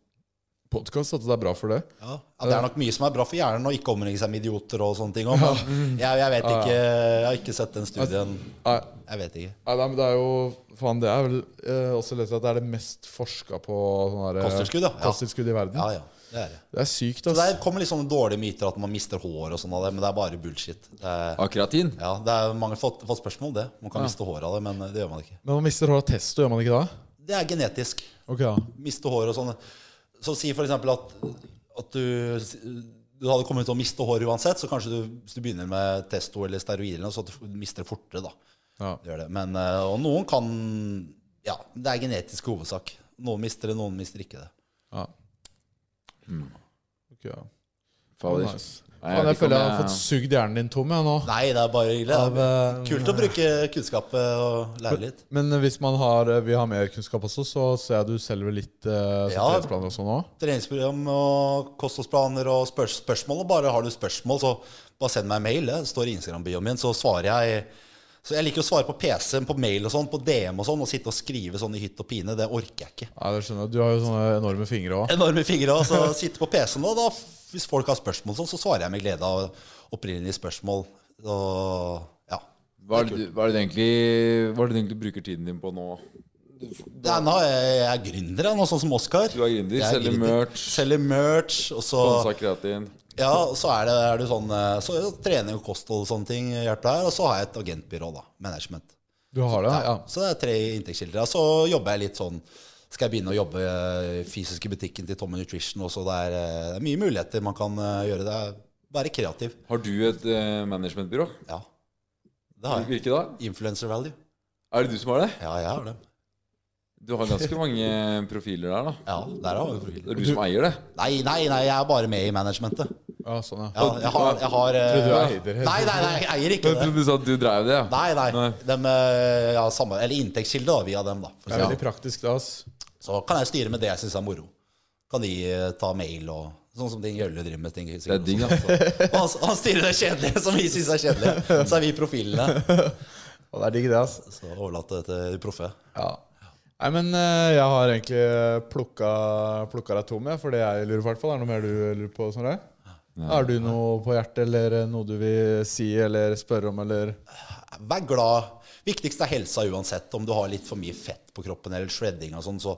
Speaker 3: podkast at det er bra for det.
Speaker 4: Ja. ja, Det er nok mye som er bra for hjernen, og ikke omringe seg med idioter og sånne ting. også, Men jeg, jeg vet ikke Jeg har ikke sett den studien.
Speaker 3: Nei,
Speaker 4: Jeg vet ikke.
Speaker 3: nei, nei, men det er jo Faen, det er vel eh, også lest at det er det mest forska på sånne der,
Speaker 4: Kosttilskudd, ja. Ja.
Speaker 3: kosttilskudd i verden.
Speaker 4: Ja, ja, det er det.
Speaker 3: Det er sykt,
Speaker 4: Så
Speaker 3: ass.
Speaker 4: der kommer litt sånne dårlige myter at man mister hår og sånn av det, men det er bare bullshit. Det er,
Speaker 5: Av Ah, kreatin?
Speaker 4: ja, det er mange har fått, fått spørsmål om det. Man kan miste hår av det, men det gjør man ikke.
Speaker 3: Men man mister hår av testo, gjør man ikke da?
Speaker 4: Det er genetisk.
Speaker 3: Ok, da.
Speaker 4: Miste hår og sånn. Så si for eksempel at, at du, du hadde kommet til å miste hår uansett, så kanskje du, hvis du begynner med testo eller steroider eller noe, så at du mister det fortere, da.
Speaker 3: Ja.
Speaker 4: Det Gjør det. Men, eh, og noen kan Ja, det er genetisk hovedsak. Noen mister det, noen mister ikke det.
Speaker 3: Ja. Mm. Ok, ja.
Speaker 5: Fader.
Speaker 3: Nice.
Speaker 5: Nei,
Speaker 3: Men
Speaker 5: vet ikke
Speaker 3: jeg
Speaker 5: om
Speaker 3: føler jeg har
Speaker 5: jeg-
Speaker 3: fått sugd hjernen din tom jeg, nå.
Speaker 4: Nei, det er bare hyggelig.
Speaker 3: Av,
Speaker 4: Det er
Speaker 3: eh,
Speaker 4: Kult å bruke kunnskap eh, og lære litt.
Speaker 3: Men eh, hvis man har, vi har mer kunnskap også, så ser jeg du selger litt uh,
Speaker 4: Ja.
Speaker 3: sikkerhetsplaner også nå.
Speaker 4: Treningsprogram og kostholdsplaner og spør spørsmål. Og bare har du spørsmål, så bare send meg en mail. Det står i Instagram-bioen min, så svarer jeg. Så Jeg liker å svare på PC-en, på mail og sånn, på DM og sånn. Og sitte og skrive sånn i hytt og pine, det orker jeg ikke.
Speaker 3: Nei, det skjønner jeg. Du har jo sånne enorme fingre òg.
Speaker 4: enorme fingre og så sitte på PC-en. Og da, hvis folk har spørsmål, sånn, så svarer jeg med glede av opprinnelige spørsmål. Og ja.
Speaker 5: Hva er det, du- hva er det du egentlig, hva er det du egentlig bruker tiden din på nå?
Speaker 4: Det er, nå, jeg jeg er gründer, jeg, nå, sånn som Oskar.
Speaker 5: Du er gründer,
Speaker 4: Jeg
Speaker 5: selger
Speaker 4: gründer.
Speaker 5: merch. Sånn
Speaker 4: Selger merch. Og så,
Speaker 5: Sponsa kreatin.
Speaker 4: ja, og så er det, er det sånn eh, så, er det trening og kosthold og sånne ting hjelper der. Og så har jeg et agentbyrå, da. Management.
Speaker 3: Du har det? Ja.
Speaker 4: Så det er tre inntektskilder. Og så jobber jeg litt sånn Skal jeg begynne å jobbe eh, fysisk i butikken til Tommy Nutrition også? Det er, eh, det er mye muligheter man kan eh, gjøre. Det er, være kreativ.
Speaker 5: Har du et eh, managementbyrå?
Speaker 4: Ja. Det har jeg.
Speaker 5: Hvilket da?
Speaker 4: Influencer value.
Speaker 5: Er det du som har det?
Speaker 4: Ja, jeg har det.
Speaker 5: Du har ganske mange profiler der, da.
Speaker 4: Ja, der har vi
Speaker 5: Det er
Speaker 4: profilen.
Speaker 5: du som eier det.
Speaker 4: Nei, nei, nei, jeg er bare med i managementet.
Speaker 3: ja, sånn, ja.
Speaker 4: Ja, jeg har, jeg har eh,
Speaker 3: Tror du er eier, helt
Speaker 4: Nei, nei, nei, jeg eier ikke
Speaker 5: Jeg
Speaker 4: det.
Speaker 5: trodde du sa at du drev det, ja.
Speaker 4: Nei, nei.
Speaker 5: Nei.
Speaker 4: Dem, eh, ja, samme, eller inntektskilde, da, via dem, da. For
Speaker 3: Det
Speaker 4: å si.
Speaker 3: er
Speaker 4: sånn.
Speaker 3: veldig praktisk, da. ass.
Speaker 4: Så kan jeg styre med det jeg syns er moro. Kan de eh, ta mail og Sånn som Ding Jølle driver med. Ting,
Speaker 5: Det er digg, da.
Speaker 4: Og han, han styrer det kjedelige som vi syns er kjedelig. Så er vi profilene.
Speaker 3: Og det er digg, det. ass.
Speaker 4: Så overlatt det til de proffe.
Speaker 3: Ja. Nei, men eh, jeg har egentlig plukka, plukka deg tom, jeg, for det jeg lurer på. hvertfall. Er det noe mer du lurer på? Sånn, Har du noe på hjertet, eller eh, noe du vil si eller spørre om, eller
Speaker 4: Vær glad. Viktigst er helsa uansett. Om du har litt for mye fett på kroppen eller shredding og sånn, så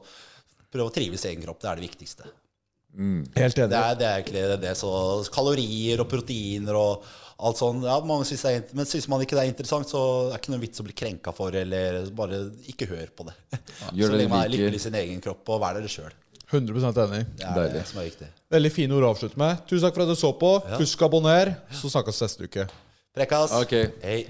Speaker 4: prøv å trives i egen kropp. Det er det viktigste.
Speaker 3: Helt
Speaker 4: Det er, det er egentlig det. Så kalorier og proteiner og alt sånn. Ja, mange synes det er, int- men syns man ikke det er interessant, så er det ikke noe vits å bli krenka for, eller bare ikke hør på det. *laughs*
Speaker 5: Gjør
Speaker 4: så
Speaker 5: det
Speaker 4: lenge man er
Speaker 5: du liker.
Speaker 4: lykkelig i sin egen kropp, og vær dere sjøl.
Speaker 3: 100 enig.
Speaker 4: Det er det
Speaker 5: Deilig.
Speaker 4: som er viktig.
Speaker 3: Veldig fine ord å avslutte med. Tusen takk for at du så på. Husk å abonnere, så snakkes neste uke.
Speaker 4: Prekkas.
Speaker 5: Ok.
Speaker 4: Hei.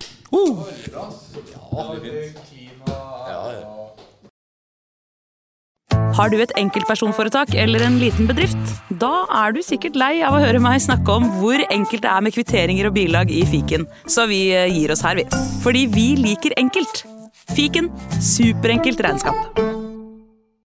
Speaker 6: Har du et enkeltpersonforetak eller en liten bedrift? Da er du sikkert lei av å høre meg snakke om hvor enkelt det er med kvitteringer og bilag i fiken, så eh, vi gir oss her, vi. Fordi vi liker enkelt. Fiken superenkelt regnskap.